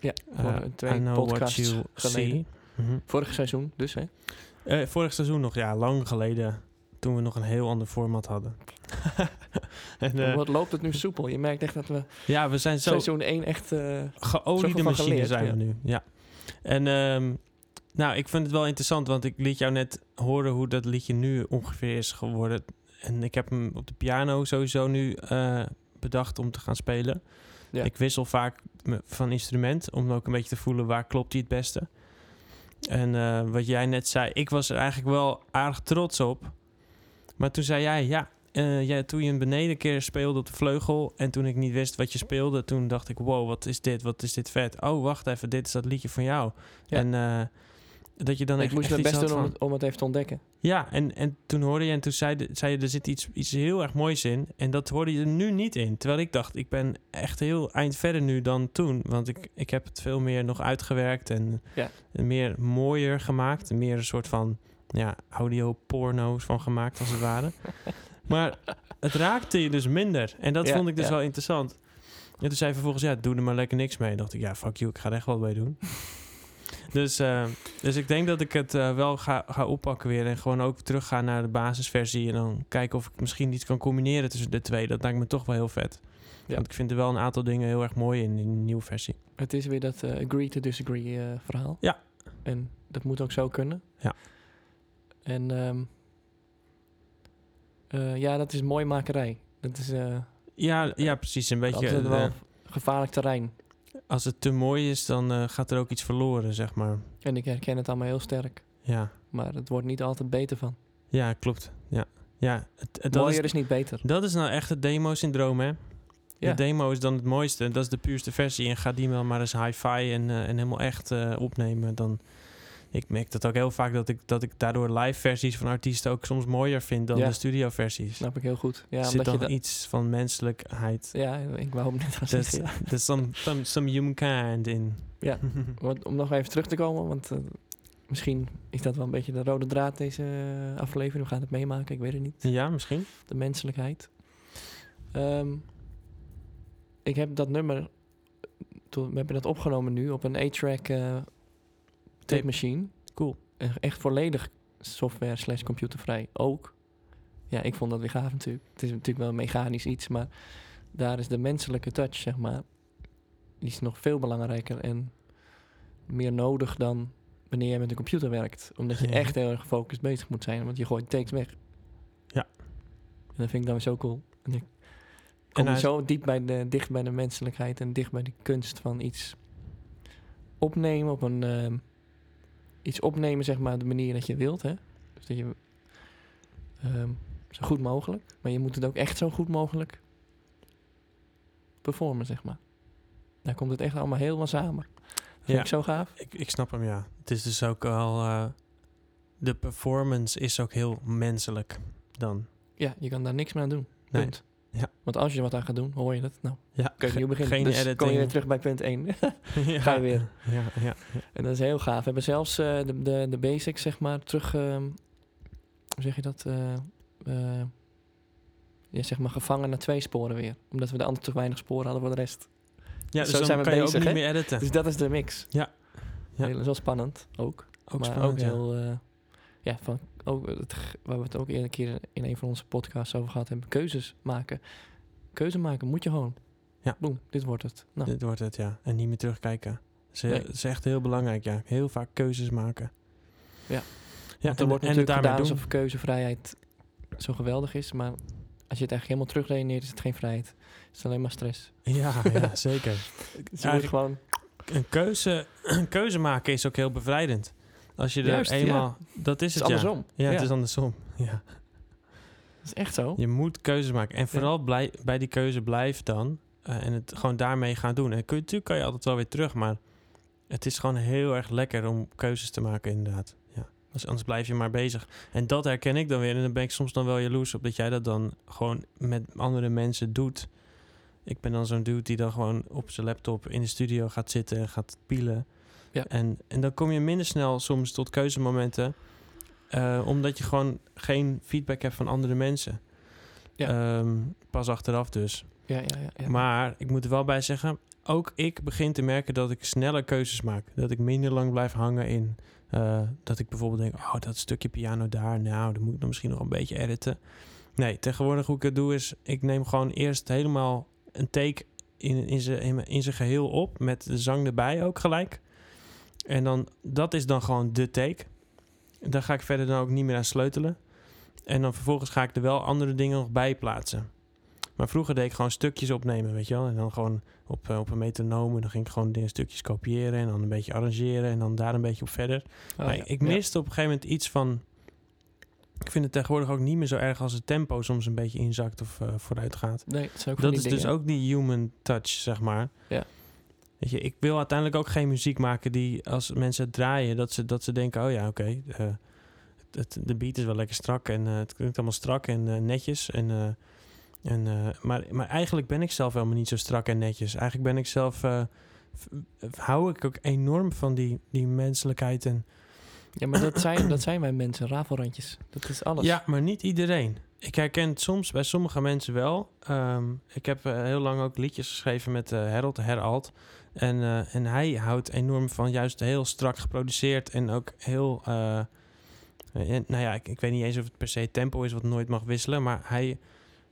[SPEAKER 2] Ja, voor
[SPEAKER 1] Eh,
[SPEAKER 2] eh, twee podcasts geleden.
[SPEAKER 1] Mhm.
[SPEAKER 2] Vorig seizoen dus, hè?
[SPEAKER 1] Eh, vorig seizoen nog, ja, lang geleden. Toen we nog een heel ander format hadden. en, eh,
[SPEAKER 2] Wat loopt het nu soepel? Je merkt echt dat we
[SPEAKER 1] ja, we zijn zo
[SPEAKER 2] seizoen 1 echt... eh,
[SPEAKER 1] geoliede
[SPEAKER 2] Zoveel van
[SPEAKER 1] machine
[SPEAKER 2] geleerd,
[SPEAKER 1] zijn
[SPEAKER 2] ja.
[SPEAKER 1] we nu. Ja. En ehm, nou, ik vind het wel interessant, want ik liet jou net horen hoe dat liedje nu ongeveer is geworden. En ik heb hem op de piano sowieso nu eh, bedacht om te gaan spelen.
[SPEAKER 2] Ja.
[SPEAKER 1] Ik wissel vaak me- van instrument om ook een beetje te voelen waar klopt hij het beste. En eh, wat jij net zei, ik was er eigenlijk wel aardig trots op. Maar toen zei jij, ja, eh, jij, toen je hem beneden een keer speelde op de vleugel... en toen ik niet wist wat je speelde, toen dacht ik... wow, wat is dit? Wat is dit vet? Oh, wacht even, dit is dat liedje van jou.
[SPEAKER 2] Ja.
[SPEAKER 1] En eh, dat je dan
[SPEAKER 2] ik
[SPEAKER 1] echt-
[SPEAKER 2] moest
[SPEAKER 1] echt
[SPEAKER 2] mijn
[SPEAKER 1] iets
[SPEAKER 2] best
[SPEAKER 1] had
[SPEAKER 2] doen om
[SPEAKER 1] van-
[SPEAKER 2] het, om het even te ontdekken.
[SPEAKER 1] Ja, en, en toen hoorde je... en toen zei, de- zei je, er zit iets, iets heel erg moois in... en dat hoorde je er nu niet in. Terwijl ik dacht, ik ben echt heel eind verder nu dan toen... want ik, ik heb het veel meer nog uitgewerkt... en
[SPEAKER 2] Ja.
[SPEAKER 1] meer mooier gemaakt. Meer een soort van ja, audio-porno's van gemaakt, als het ware. maar het raakte je dus minder. En dat
[SPEAKER 2] Ja,
[SPEAKER 1] vond ik dus
[SPEAKER 2] ja.
[SPEAKER 1] wel interessant. En toen zei hij vervolgens, ja, doe er maar lekker niks mee. En dacht ik, ja, fuck you, ik ga er echt wel bij doen. dus, eh, dus ik denk dat ik het eh, wel ga, ga oppakken weer. En gewoon ook terugga naar de basisversie. En dan kijken of ik misschien iets kan combineren tussen de twee. Dat lijkt me toch wel heel vet.
[SPEAKER 2] Ja.
[SPEAKER 1] Want ik vind er wel een aantal dingen heel erg mooi in, in de nieuwe versie.
[SPEAKER 2] Het is weer dat eh, agree to disagree eh, verhaal.
[SPEAKER 1] Ja.
[SPEAKER 2] En dat moet ook zo kunnen.
[SPEAKER 1] Ja.
[SPEAKER 2] En ehm, eh, ja, dat is mooi makerij. Dat is eh
[SPEAKER 1] Ja, ja precies. Een beetje,
[SPEAKER 2] altijd wel
[SPEAKER 1] eh,
[SPEAKER 2] gevaarlijk terrein.
[SPEAKER 1] als het te mooi is, dan eh, gaat er ook iets verloren, zeg maar.
[SPEAKER 2] En ik herken het allemaal heel sterk.
[SPEAKER 1] Ja,
[SPEAKER 2] Maar het wordt niet altijd beter van.
[SPEAKER 1] ja klopt. Ja, ja het, het, dat,
[SPEAKER 2] Mooier
[SPEAKER 1] is,
[SPEAKER 2] is, niet beter.
[SPEAKER 1] dat is nou echt het demo-syndroom, hè?
[SPEAKER 2] Ja.
[SPEAKER 1] De demo is dan het mooiste. Dat is de puurste versie. En ga die wel maar eens hi-fi en, eh, en helemaal echt eh, opnemen. Dan, ik merk dat ook heel vaak dat ik, dat ik daardoor live versies van artiesten ook soms mooier vind dan
[SPEAKER 2] Ja.
[SPEAKER 1] de studio versies.
[SPEAKER 2] Snap ik heel goed. Ja,
[SPEAKER 1] er zit
[SPEAKER 2] omdat
[SPEAKER 1] dan
[SPEAKER 2] je dat-
[SPEAKER 1] iets van menselijkheid.
[SPEAKER 2] ja ik wou hem net gaan
[SPEAKER 1] There's,
[SPEAKER 2] zeggen. ja.
[SPEAKER 1] there's some, some, some humankind in.
[SPEAKER 2] Ja. Want om nog even terug te komen, want eh, misschien is dat wel een beetje de rode draad deze eh, aflevering. We gaan het meemaken, ik weet het niet.
[SPEAKER 1] ja, misschien.
[SPEAKER 2] de menselijkheid. Ehm, ik heb dat nummer, toen, we hebben dat opgenomen nu op een A-track eh, tape machine.
[SPEAKER 1] Cool.
[SPEAKER 2] Eh, Echt volledig software slash computervrij ook. Ja, ik vond dat weer gaaf natuurlijk. Het is natuurlijk wel een mechanisch iets, maar daar is de menselijke touch, zeg maar, die is nog veel belangrijker en meer nodig dan wanneer jij met een computer werkt. Omdat je
[SPEAKER 1] Ja.
[SPEAKER 2] echt heel erg gefocust bezig moet zijn, want je gooit takes weg.
[SPEAKER 1] Ja.
[SPEAKER 2] En dat vind ik dan weer zo cool. En ik
[SPEAKER 1] En
[SPEAKER 2] kom je
[SPEAKER 1] hij-
[SPEAKER 2] zo diep bij de, dicht bij de menselijkheid en dicht bij de kunst van iets opnemen op een... ehm, iets opnemen, zeg maar, de manier dat je wilt, hè. Dus dat je... ehm, zo goed mogelijk. Maar je moet het ook echt zo goed mogelijk performen, zeg maar. Daar komt het echt allemaal helemaal samen. Vind
[SPEAKER 1] Ja.
[SPEAKER 2] ik zo gaaf.
[SPEAKER 1] Ik, ik snap hem, ja. Het is dus ook al... eh, de performance is ook heel menselijk dan.
[SPEAKER 2] Ja, je kan daar niks meer aan doen.
[SPEAKER 1] Nee.
[SPEAKER 2] Punt.
[SPEAKER 1] Ja.
[SPEAKER 2] Want als je wat aan gaat doen, hoor je dat. Nou,
[SPEAKER 1] Ja,
[SPEAKER 2] kun je
[SPEAKER 1] ge-
[SPEAKER 2] opnieuw beginnen.
[SPEAKER 1] geen
[SPEAKER 2] dus
[SPEAKER 1] editing.
[SPEAKER 2] kom je weer terug bij punt 1.
[SPEAKER 1] Ja.
[SPEAKER 2] Ga je weer.
[SPEAKER 1] Ja, ja.
[SPEAKER 2] en dat is heel gaaf. We hebben zelfs eh, de, de, de basics, zeg maar, terug... ehm, hoe zeg je dat? eh eh, ja, zeg maar gevangen naar twee sporen weer. Omdat we de andere te weinig sporen hadden voor de rest.
[SPEAKER 1] ja dus
[SPEAKER 2] Zo
[SPEAKER 1] dan
[SPEAKER 2] zijn we
[SPEAKER 1] kan je
[SPEAKER 2] bezig,
[SPEAKER 1] ook
[SPEAKER 2] hè?
[SPEAKER 1] niet meer editen.
[SPEAKER 2] Dus dat is de mix.
[SPEAKER 1] Ja. Ja.
[SPEAKER 2] Heel, dat is wel spannend ook.
[SPEAKER 1] ook
[SPEAKER 2] maar
[SPEAKER 1] spannend,
[SPEAKER 2] ook
[SPEAKER 1] ja.
[SPEAKER 2] heel. eh, ja, van, ook het, g- waar we het ook eerder een keer in een van onze podcasts over gehad hebben. Keuzes maken. Keuze maken moet je gewoon.
[SPEAKER 1] Ja.
[SPEAKER 2] Boem, dit wordt het. Nou,
[SPEAKER 1] Dit wordt het, ja. En niet meer terugkijken. Dat is, heel-
[SPEAKER 2] Nee.
[SPEAKER 1] dat is echt heel belangrijk, ja. Heel vaak keuzes maken.
[SPEAKER 2] Ja.
[SPEAKER 1] Ja,
[SPEAKER 2] want er
[SPEAKER 1] en,
[SPEAKER 2] wordt
[SPEAKER 1] en het
[SPEAKER 2] natuurlijk
[SPEAKER 1] daarmee
[SPEAKER 2] gedaan
[SPEAKER 1] doen.
[SPEAKER 2] alsof keuzevrijheid zo geweldig is. Maar als je het eigenlijk helemaal terugredeneert, is het geen vrijheid. Het is alleen maar stress.
[SPEAKER 1] Ja, ja, zeker.
[SPEAKER 2] Dus je moet
[SPEAKER 1] Eigenlijk-
[SPEAKER 2] gewoon.
[SPEAKER 1] Een keuze, een keuze maken is ook heel bevrijdend. Als je er
[SPEAKER 2] Juist, ja.
[SPEAKER 1] eenmaal... Dat is
[SPEAKER 2] Het
[SPEAKER 1] het,
[SPEAKER 2] is
[SPEAKER 1] ja.
[SPEAKER 2] andersom.
[SPEAKER 1] Ja, het is andersom. Ja.
[SPEAKER 2] dat is echt zo.
[SPEAKER 1] Je moet keuzes maken. En vooral blij, bij die keuze blijf dan. eh, en het gewoon daarmee gaan doen. En kun, natuurlijk kan je altijd wel weer terug. Maar het is gewoon heel erg lekker om keuzes te maken inderdaad. Ja. Dus anders blijf je maar bezig. En dat herken ik dan weer. En dan ben ik soms dan wel jaloers op dat jij dat dan gewoon met andere mensen doet. Ik ben dan zo'n dude die dan gewoon op zijn laptop in de studio gaat zitten en gaat pielen.
[SPEAKER 2] Ja.
[SPEAKER 1] En, en dan kom je minder snel soms tot keuzemomenten. eh, omdat je gewoon geen feedback hebt van andere mensen. Ehm, pas achteraf dus.
[SPEAKER 2] Ja, ja, ja. ja.
[SPEAKER 1] Maar ik moet er wel bij zeggen, ook ik begin te merken dat ik sneller keuzes maak. Dat ik minder lang blijf hangen in. eh, dat ik bijvoorbeeld denk, oh, dat stukje piano daar, nou, dan moet ik dan misschien nog een beetje editen. Nee, tegenwoordig hoe ik het doe is, ik neem gewoon eerst helemaal een take in, in zijn in, mijn- in zijn geheel op, met de zang erbij ook gelijk. En dan, dat is dan gewoon de take. Daar ga ik verder dan ook niet meer aan sleutelen. En dan vervolgens ga ik er wel andere dingen nog bij plaatsen. Maar vroeger deed ik gewoon stukjes opnemen, weet je wel. En dan gewoon op, eh, op een metronoom. En dan ging ik gewoon dingen stukjes kopiëren. En dan een beetje arrangeren. En dan daar een beetje op verder.
[SPEAKER 2] Oh,
[SPEAKER 1] maar
[SPEAKER 2] ja.
[SPEAKER 1] ik
[SPEAKER 2] Ja.
[SPEAKER 1] miste op een gegeven moment iets van... Ik vind het tegenwoordig ook niet meer zo erg als het tempo soms een beetje inzakt of eh, vooruit gaat.
[SPEAKER 2] Nee, het zijn ook van
[SPEAKER 1] Dat
[SPEAKER 2] die
[SPEAKER 1] is dus
[SPEAKER 2] dingen.
[SPEAKER 1] ook die human touch, zeg maar.
[SPEAKER 2] Ja.
[SPEAKER 1] Weet je, ik wil uiteindelijk ook geen muziek maken die als mensen het draaien, dat ze, dat ze denken, oh ja, oké, eh, het, het- de beat is wel lekker strak en eh, het klinkt allemaal strak en eh, netjes. En, eh, en, eh, maar, maar eigenlijk ben ik zelf helemaal niet zo strak en netjes. Eigenlijk ben ik zelf, eh, v- hou ik ook enorm van die, die menselijkheid en
[SPEAKER 2] Ja, maar dat zijn, dat zijn wij mensen, rafelrandjes. Dat is alles.
[SPEAKER 1] Ja, maar niet iedereen. Ik herken het soms bij sommige mensen wel. Ehm, ik heb eh, heel lang ook liedjes geschreven met eh Harold Herald. En, eh, en hij houdt enorm van juist heel strak geproduceerd en ook heel. eh, en, nou ja, ik, ik weet niet eens of het per se tempo is wat nooit mag wisselen. Maar hij,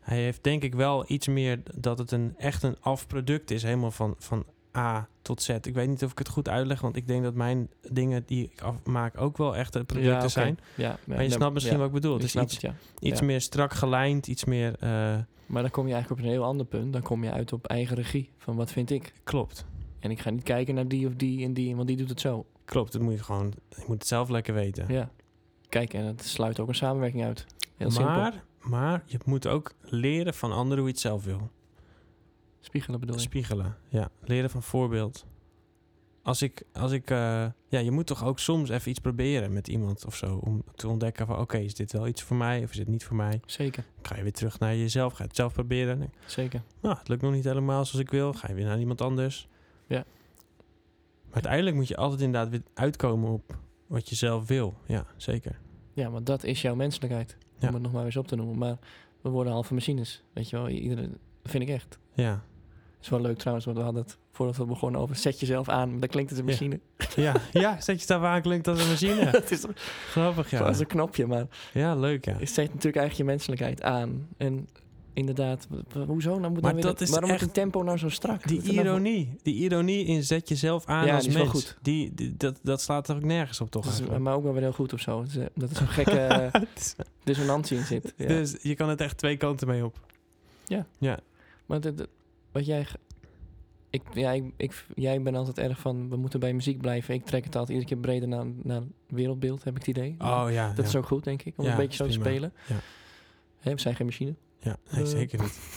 [SPEAKER 1] hij heeft denk ik wel iets meer dat het een, echt een afproduct is. Helemaal van, van A tot Z. Ik weet niet of ik het goed uitleg, want ik denk dat mijn dingen die ik afmaak ook wel echt eh, producten
[SPEAKER 2] oké.
[SPEAKER 1] zijn.
[SPEAKER 2] Ja, ja,
[SPEAKER 1] Maar je
[SPEAKER 2] ja,
[SPEAKER 1] snapt misschien
[SPEAKER 2] ja.
[SPEAKER 1] wat ik bedoel.
[SPEAKER 2] Ik
[SPEAKER 1] Het is
[SPEAKER 2] snap
[SPEAKER 1] iets,
[SPEAKER 2] het, ja.
[SPEAKER 1] iets
[SPEAKER 2] ja.
[SPEAKER 1] meer strak gelijnd, iets meer... eh,
[SPEAKER 2] Maar dan kom je eigenlijk op een heel ander punt. Dan kom je uit op eigen regie. Van wat vind ik?
[SPEAKER 1] klopt,
[SPEAKER 2] En ik ga niet kijken naar die of die en die, want die doet het zo.
[SPEAKER 1] klopt. Dat moet je gewoon... Je moet het zelf lekker weten.
[SPEAKER 2] Ja. Kijk, en het sluit ook een samenwerking uit. Heel simpel.
[SPEAKER 1] maar, maar je moet ook leren van anderen hoe je het zelf wil.
[SPEAKER 2] Spiegelen bedoel je?
[SPEAKER 1] Spiegelen, ja. Leren van voorbeeld. Als ik... Als ik eh, ja, je moet toch ook soms even iets proberen met iemand of zo. Om te ontdekken van, oké, is dit wel iets voor mij of is dit niet voor mij?
[SPEAKER 2] Zeker,
[SPEAKER 1] Dan Ga je weer terug naar jezelf, ga je het zelf proberen. Dan denk je,
[SPEAKER 2] zeker.
[SPEAKER 1] Nou, het lukt nog niet helemaal zoals ik wil. Ga je weer naar iemand anders.
[SPEAKER 2] Ja.
[SPEAKER 1] Maar uiteindelijk moet je altijd inderdaad weer uitkomen op wat je zelf wil. Ja, zeker.
[SPEAKER 2] Ja, want dat is jouw menselijkheid.
[SPEAKER 1] Ja.
[SPEAKER 2] Om het nog maar eens op te noemen. Maar we worden halve machines. Weet je wel, iedereen vind ik echt.
[SPEAKER 1] Ja,
[SPEAKER 2] Het is wel leuk trouwens, want we hadden het voordat we begonnen over zet jezelf aan. Dan klinkt het een
[SPEAKER 1] Ja.
[SPEAKER 2] machine.
[SPEAKER 1] ja, ja zet je daar aan, klinkt als een machine.
[SPEAKER 2] het is toch
[SPEAKER 1] Grappig, ja.
[SPEAKER 2] als een knopje, maar
[SPEAKER 1] Ja, leuk, ja.
[SPEAKER 2] je zet natuurlijk eigenlijk je menselijkheid aan. En inderdaad, w- w- hoezo nou moet
[SPEAKER 1] Maar
[SPEAKER 2] nou weer
[SPEAKER 1] dat is
[SPEAKER 2] waarom
[SPEAKER 1] echt-
[SPEAKER 2] het tempo nou zo strak?
[SPEAKER 1] Die
[SPEAKER 2] Wat is er nou voor-
[SPEAKER 1] ironie, die ironie in zet jezelf aan
[SPEAKER 2] Ja,
[SPEAKER 1] als
[SPEAKER 2] die is wel
[SPEAKER 1] mens.
[SPEAKER 2] goed.
[SPEAKER 1] Die, die- dat, dat slaat er ook nergens op, toch?
[SPEAKER 2] Dat is,
[SPEAKER 1] eigenlijk?
[SPEAKER 2] maar ook wel weer heel goed of zo. Dat is, eh, Dat is een gekke eh,
[SPEAKER 1] Het is-
[SPEAKER 2] dissonantie in zit. Ja.
[SPEAKER 1] Dus je kan het echt twee kanten mee op.
[SPEAKER 2] Maar dit- dit- wat jij. ge- Ik, ja, ik, ik, jij bent altijd erg van we moeten bij muziek blijven. Ik trek het altijd iedere keer breder naar, naar wereldbeeld, heb ik het idee.
[SPEAKER 1] Oh ja,
[SPEAKER 2] dat is
[SPEAKER 1] ja.
[SPEAKER 2] ook goed, denk ik, om
[SPEAKER 1] Ja,
[SPEAKER 2] een beetje zo te
[SPEAKER 1] prima.
[SPEAKER 2] spelen.
[SPEAKER 1] Ja.
[SPEAKER 2] Hè, we zijn geen machine.
[SPEAKER 1] Ja, nee,
[SPEAKER 2] Eh.
[SPEAKER 1] zeker niet.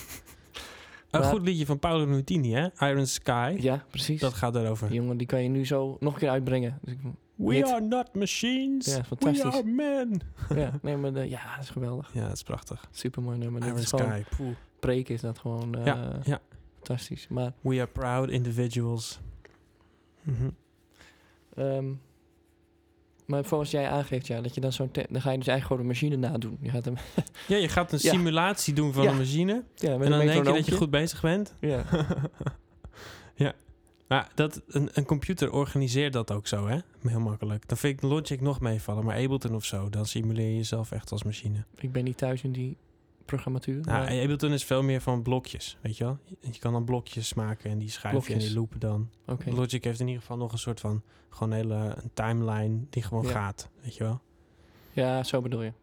[SPEAKER 1] Een
[SPEAKER 2] Maar-
[SPEAKER 1] goed liedje van Paolo Nutini, hè? Iron Sky.
[SPEAKER 2] Ja, precies.
[SPEAKER 1] Dat gaat daarover.
[SPEAKER 2] Die jongen, die kan je nu zo nog een keer uitbrengen. Dus ik,
[SPEAKER 1] We
[SPEAKER 2] Hit.
[SPEAKER 1] are not machines.
[SPEAKER 2] ja, fantastisch.
[SPEAKER 1] men.
[SPEAKER 2] Ja, nee, maar de- ja, dat is geweldig.
[SPEAKER 1] Ja, dat is prachtig.
[SPEAKER 2] Supermooi nummer. Dat
[SPEAKER 1] Iron
[SPEAKER 2] is gewoon,
[SPEAKER 1] Sky. poeh.
[SPEAKER 2] preken is dat gewoon eh,
[SPEAKER 1] Ja, ja.
[SPEAKER 2] fantastisch. Maar
[SPEAKER 1] We are proud individuals. Mhm.
[SPEAKER 2] Ehm, maar volgens jij aangeeft, ja, dat je dan zo'n... te- Dan ga je dus eigenlijk gewoon de machine nadoen. Je gaat hem...
[SPEAKER 1] Ja, je gaat een
[SPEAKER 2] Ja.
[SPEAKER 1] simulatie doen van
[SPEAKER 2] Ja.
[SPEAKER 1] een machine.
[SPEAKER 2] Ja, met
[SPEAKER 1] En dan
[SPEAKER 2] een
[SPEAKER 1] denk je dat je
[SPEAKER 2] metronoompje.
[SPEAKER 1] goed bezig bent.
[SPEAKER 2] Ja,
[SPEAKER 1] ja. Maar dat, een, een computer organiseert dat ook zo, hè? Heel makkelijk. Dan vind ik Logic nog meevallen, maar Ableton of zo, dan simuleer je jezelf echt als machine.
[SPEAKER 2] ik ben niet thuis in die programmatuur.
[SPEAKER 1] Nou,
[SPEAKER 2] maar
[SPEAKER 1] Ableton is veel meer van blokjes, weet je wel? Je, je kan dan blokjes maken en die schrijf je en
[SPEAKER 2] Blokjes.
[SPEAKER 1] die loopen dan.
[SPEAKER 2] oké.
[SPEAKER 1] Logic heeft in ieder geval nog een soort van gewoon een hele een timeline die gewoon
[SPEAKER 2] Ja.
[SPEAKER 1] gaat, weet je wel.
[SPEAKER 2] Ja, zo bedoel je.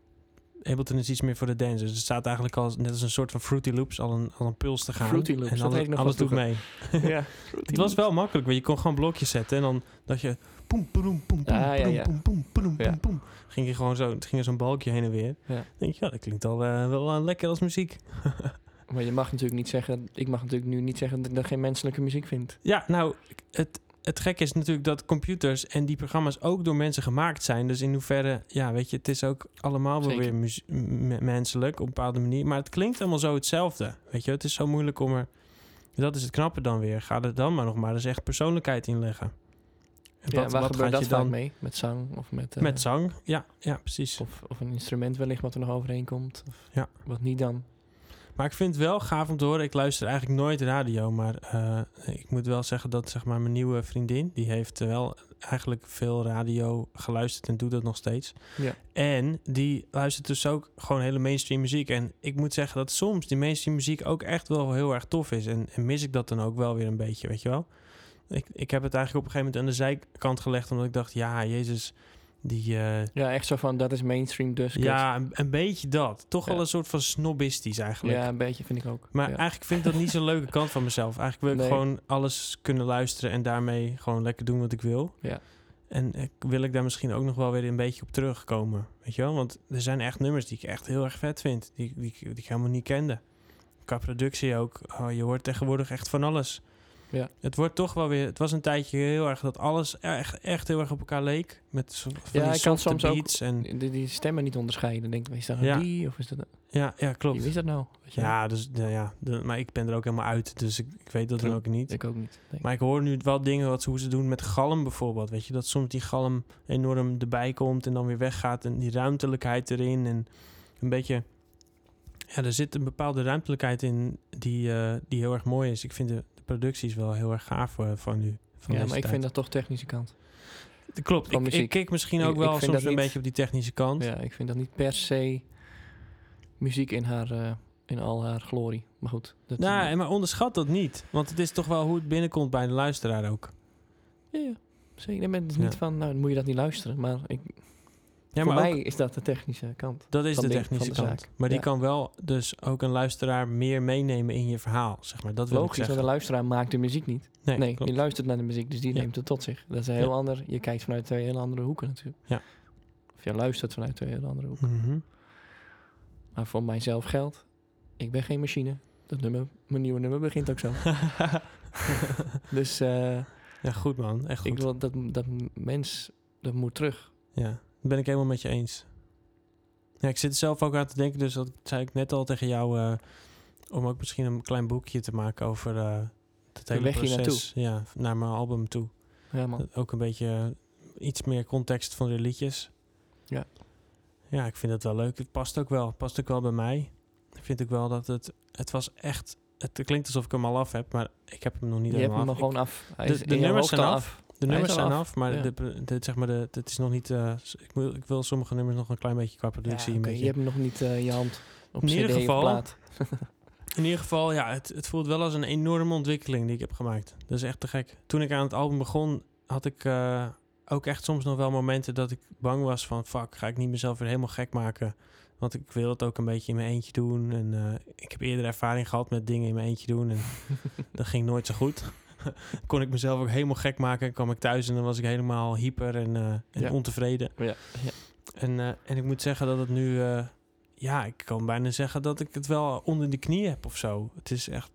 [SPEAKER 1] Ableton is iets meer voor de dancers. Dus het staat eigenlijk al net als een soort van Fruity Loops al een, al een puls te gaan.
[SPEAKER 2] Fruity Loops,
[SPEAKER 1] en
[SPEAKER 2] dat
[SPEAKER 1] alles,
[SPEAKER 2] had ik nog
[SPEAKER 1] alles
[SPEAKER 2] van
[SPEAKER 1] doet mee.
[SPEAKER 2] ja.
[SPEAKER 1] Het was wel makkelijk, want je kon gewoon blokjes zetten en dan dat je poem poem poem poem
[SPEAKER 2] Ah, ja,
[SPEAKER 1] poem,
[SPEAKER 2] ja.
[SPEAKER 1] poem poem poem
[SPEAKER 2] Ja.
[SPEAKER 1] poem poem. ging je gewoon zo, het ging er zo'n balkje heen en weer.
[SPEAKER 2] Ja.
[SPEAKER 1] Dan Denk je, ja, dat klinkt al eh, wel eh, lekker als muziek.
[SPEAKER 2] Maar je mag natuurlijk niet zeggen... Ik mag natuurlijk nu niet zeggen dat ik daar geen menselijke muziek vind.
[SPEAKER 1] Ja, nou, het, het gekke is natuurlijk dat computers en die programma's ook door mensen gemaakt zijn. Dus in hoeverre, ja, weet je, het is ook allemaal wel
[SPEAKER 2] Zeker.
[SPEAKER 1] weer muzie- m- menselijk op een bepaalde manier. Maar het klinkt allemaal zo hetzelfde. Weet je, het is zo moeilijk om er. Dat is het knappe dan weer. Ga er dan maar nog maar eens echt persoonlijkheid in leggen. En
[SPEAKER 2] ja, waar gebeurt dat
[SPEAKER 1] je
[SPEAKER 2] vaak mee? Met zang of met... eh,
[SPEAKER 1] Met zang? Ja, ja, precies.
[SPEAKER 2] Of, of een instrument wellicht wat er nog overheen komt. Of
[SPEAKER 1] Ja.
[SPEAKER 2] Wat niet dan.
[SPEAKER 1] Maar ik vind het wel gaaf om te horen. Ik luister eigenlijk nooit radio. Maar eh, ik moet wel zeggen dat zeg maar, mijn nieuwe vriendin... die heeft eh, wel eigenlijk veel radio geluisterd en doet dat nog steeds.
[SPEAKER 2] Ja.
[SPEAKER 1] En die luistert dus ook gewoon hele mainstream muziek. En ik moet zeggen dat soms die mainstream muziek ook echt wel heel erg tof is. En, en mis ik dat dan ook wel weer een beetje, weet je wel? Ik, ik heb het eigenlijk op een gegeven moment aan de zijkant gelegd... omdat ik dacht, ja, jezus, die... eh,
[SPEAKER 2] Ja, echt zo van, dat is mainstream dus. kut.
[SPEAKER 1] ja, een, een beetje dat. Toch
[SPEAKER 2] Ja.
[SPEAKER 1] wel een soort van snobistisch eigenlijk.
[SPEAKER 2] ja, een beetje vind ik ook.
[SPEAKER 1] Maar
[SPEAKER 2] ja.
[SPEAKER 1] eigenlijk vind ik dat niet zo'n leuke kant van mezelf. Eigenlijk wil ik
[SPEAKER 2] Nee.
[SPEAKER 1] gewoon alles kunnen luisteren en daarmee gewoon lekker doen wat ik wil.
[SPEAKER 2] Ja.
[SPEAKER 1] En ik, wil ik daar misschien ook nog wel weer een beetje op terugkomen. Weet je wel? Want er zijn echt nummers die ik echt heel erg vet vind. Die, die, die ik helemaal niet kende. Qua productie ook. Oh, je hoort tegenwoordig echt van alles.
[SPEAKER 2] Ja.
[SPEAKER 1] Het wordt toch wel weer... Het was een tijdje heel erg dat alles e-, echt, echt heel erg op elkaar leek. Met zo- van
[SPEAKER 2] Ja,
[SPEAKER 1] die
[SPEAKER 2] ik kan
[SPEAKER 1] softe
[SPEAKER 2] soms ook-
[SPEAKER 1] beats en...
[SPEAKER 2] Die, die stemmen niet onderscheiden. Denk, is dat nou
[SPEAKER 1] Ja.
[SPEAKER 2] die of is dat nou-
[SPEAKER 1] Ja, ja klopt.
[SPEAKER 2] Wie is dat nou? Weet je?
[SPEAKER 1] Ja, dus, nou ja, de- maar ik ben er ook helemaal uit, dus ik, ik weet dat dan
[SPEAKER 2] True.
[SPEAKER 1] ook niet.
[SPEAKER 2] Ik ook niet. nee.
[SPEAKER 1] Maar ik hoor nu wel dingen wat ze, hoe ze doen met galm bijvoorbeeld. Weet je, dat soms die galm enorm erbij komt en dan weer weggaat. En die ruimtelijkheid erin. En een beetje. Ja, er zit een bepaalde ruimtelijkheid in die, eh, die heel erg mooi is. Ik vind de, de producties wel heel erg gaaf eh, van nu. Van
[SPEAKER 2] ja,
[SPEAKER 1] deze
[SPEAKER 2] maar ik
[SPEAKER 1] tijd.
[SPEAKER 2] vind dat toch technische kant.
[SPEAKER 1] Klopt.
[SPEAKER 2] van
[SPEAKER 1] Ik, ik
[SPEAKER 2] muziek.
[SPEAKER 1] kijk misschien
[SPEAKER 2] Ik-
[SPEAKER 1] ook
[SPEAKER 2] ik
[SPEAKER 1] wel
[SPEAKER 2] vind
[SPEAKER 1] soms
[SPEAKER 2] dat
[SPEAKER 1] een
[SPEAKER 2] niet-
[SPEAKER 1] beetje op die technische kant.
[SPEAKER 2] Ja, ik vind dat niet per se muziek in, haar, eh, in al haar glorie. Maar goed. Dat
[SPEAKER 1] Nou, en maar onderschat dat niet. Want het is toch wel hoe het binnenkomt bij de luisteraar ook.
[SPEAKER 2] Ja, ja. Zeker. Ik ben dus
[SPEAKER 1] Ja.
[SPEAKER 2] niet van, nou dan moet je dat niet luisteren. Maar ik,
[SPEAKER 1] Ja,
[SPEAKER 2] voor
[SPEAKER 1] maar ook-
[SPEAKER 2] mij is dat de technische kant.
[SPEAKER 1] Dat is
[SPEAKER 2] van
[SPEAKER 1] de
[SPEAKER 2] de-
[SPEAKER 1] technische
[SPEAKER 2] van de
[SPEAKER 1] kant.
[SPEAKER 2] zaak.
[SPEAKER 1] Maar die
[SPEAKER 2] Ja.
[SPEAKER 1] kan wel dus ook een luisteraar meer meenemen in je verhaal, zeg maar. Dat wil
[SPEAKER 2] Logisch,
[SPEAKER 1] ik
[SPEAKER 2] want de
[SPEAKER 1] zeggen.
[SPEAKER 2] luisteraar maakt de muziek niet.
[SPEAKER 1] Nee,
[SPEAKER 2] Nee,
[SPEAKER 1] klopt.
[SPEAKER 2] je luistert naar de muziek, dus die
[SPEAKER 1] Ja.
[SPEAKER 2] neemt het tot zich. Dat is een heel
[SPEAKER 1] Ja.
[SPEAKER 2] ander. Je kijkt vanuit twee hele andere hoeken natuurlijk.
[SPEAKER 1] Ja.
[SPEAKER 2] Of je luistert vanuit twee hele andere hoeken.
[SPEAKER 1] Mhm.
[SPEAKER 2] Maar voor mijzelf geldt, ik ben geen machine. Dat nummer, mijn nieuwe nummer begint ook zo. dus eh,
[SPEAKER 1] ja, goed man. Echt goed.
[SPEAKER 2] ik wil dat, dat mens, dat moet terug.
[SPEAKER 1] Ja, dat ben ik helemaal met je eens. Ja, ik zit er zelf ook aan te denken, dus dat zei ik net al tegen jou... eh, om ook misschien een klein boekje te maken over eh het hele
[SPEAKER 2] weg hier
[SPEAKER 1] proces. Ja, naar mijn album toe.
[SPEAKER 2] Ja, man.
[SPEAKER 1] Dat Ook een beetje eh, iets meer context van de liedjes.
[SPEAKER 2] Ja.
[SPEAKER 1] Ja, ik vind dat wel leuk. Het past ook wel. Het past ook wel bij mij. Ik vind ook wel dat het... Het was echt... Het klinkt alsof ik hem al af heb, maar ik heb hem nog niet
[SPEAKER 2] je hebt
[SPEAKER 1] helemaal
[SPEAKER 2] hem al
[SPEAKER 1] af.
[SPEAKER 2] gewoon af. Hij
[SPEAKER 1] De-
[SPEAKER 2] is
[SPEAKER 1] de
[SPEAKER 2] in jouw
[SPEAKER 1] nummers
[SPEAKER 2] hoofd
[SPEAKER 1] zijn
[SPEAKER 2] al
[SPEAKER 1] af. Ik- de
[SPEAKER 2] hij
[SPEAKER 1] nummers
[SPEAKER 2] is al
[SPEAKER 1] zijn af,
[SPEAKER 2] af,
[SPEAKER 1] maar
[SPEAKER 2] ja.
[SPEAKER 1] de, de- zeg maar de, het is nog niet... eh, s- ik, wil, ik wil sommige nummers nog een klein beetje qua productie.
[SPEAKER 2] Ja,
[SPEAKER 1] Dus een
[SPEAKER 2] oké,
[SPEAKER 1] beetje.
[SPEAKER 2] Je hebt hem nog niet eh, in je hand. Op
[SPEAKER 1] In
[SPEAKER 2] CD
[SPEAKER 1] ieder
[SPEAKER 2] of
[SPEAKER 1] geval-
[SPEAKER 2] plaat.
[SPEAKER 1] In ieder geval, ja, het, het voelt wel als een enorme ontwikkeling die ik heb gemaakt. Dat is echt te gek. Toen ik aan het album begon, had ik eh, ook echt soms nog wel momenten dat ik bang was van... fuck, ga ik niet mezelf weer helemaal gek maken? Want ik wil het ook een beetje in mijn eentje doen. En eh, ik heb eerder ervaring gehad met dingen in mijn eentje doen. En dat ging nooit zo goed. Kon ik mezelf ook helemaal gek maken. En kwam ik thuis en dan was ik helemaal hyper en, eh, en
[SPEAKER 2] Ja.
[SPEAKER 1] ontevreden.
[SPEAKER 2] Ja, ja.
[SPEAKER 1] En, eh, en ik moet zeggen dat het nu... eh, ja, ik kan bijna zeggen dat ik het wel onder de knie heb of zo. Het is echt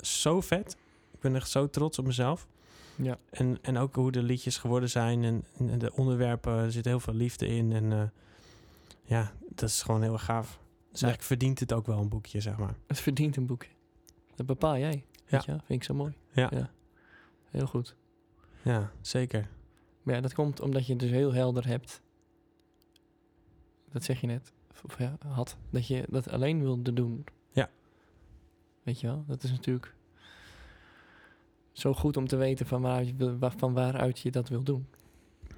[SPEAKER 1] zo vet. Ik ben echt zo trots op mezelf.
[SPEAKER 2] Ja.
[SPEAKER 1] En, en ook hoe de liedjes geworden zijn en, en de onderwerpen. Er zit heel veel liefde in. En eh, ja, dat is gewoon heel erg gaaf. Dus
[SPEAKER 2] Ja.
[SPEAKER 1] eigenlijk verdient het ook wel een boekje, zeg maar.
[SPEAKER 2] Het verdient een boekje. Dat bepaal jij. Weet je, wel? vind ik zo mooi.
[SPEAKER 1] Ja.
[SPEAKER 2] Heel goed.
[SPEAKER 1] Ja, zeker.
[SPEAKER 2] Maar ja, dat komt omdat je het dus heel helder hebt. Dat zeg je net. Of- Of ja, had. Dat je dat alleen wilde doen.
[SPEAKER 1] Ja.
[SPEAKER 2] Weet je wel? Dat is natuurlijk zo goed om te weten van waaruit je, wil- waar- van waaruit je dat wil doen.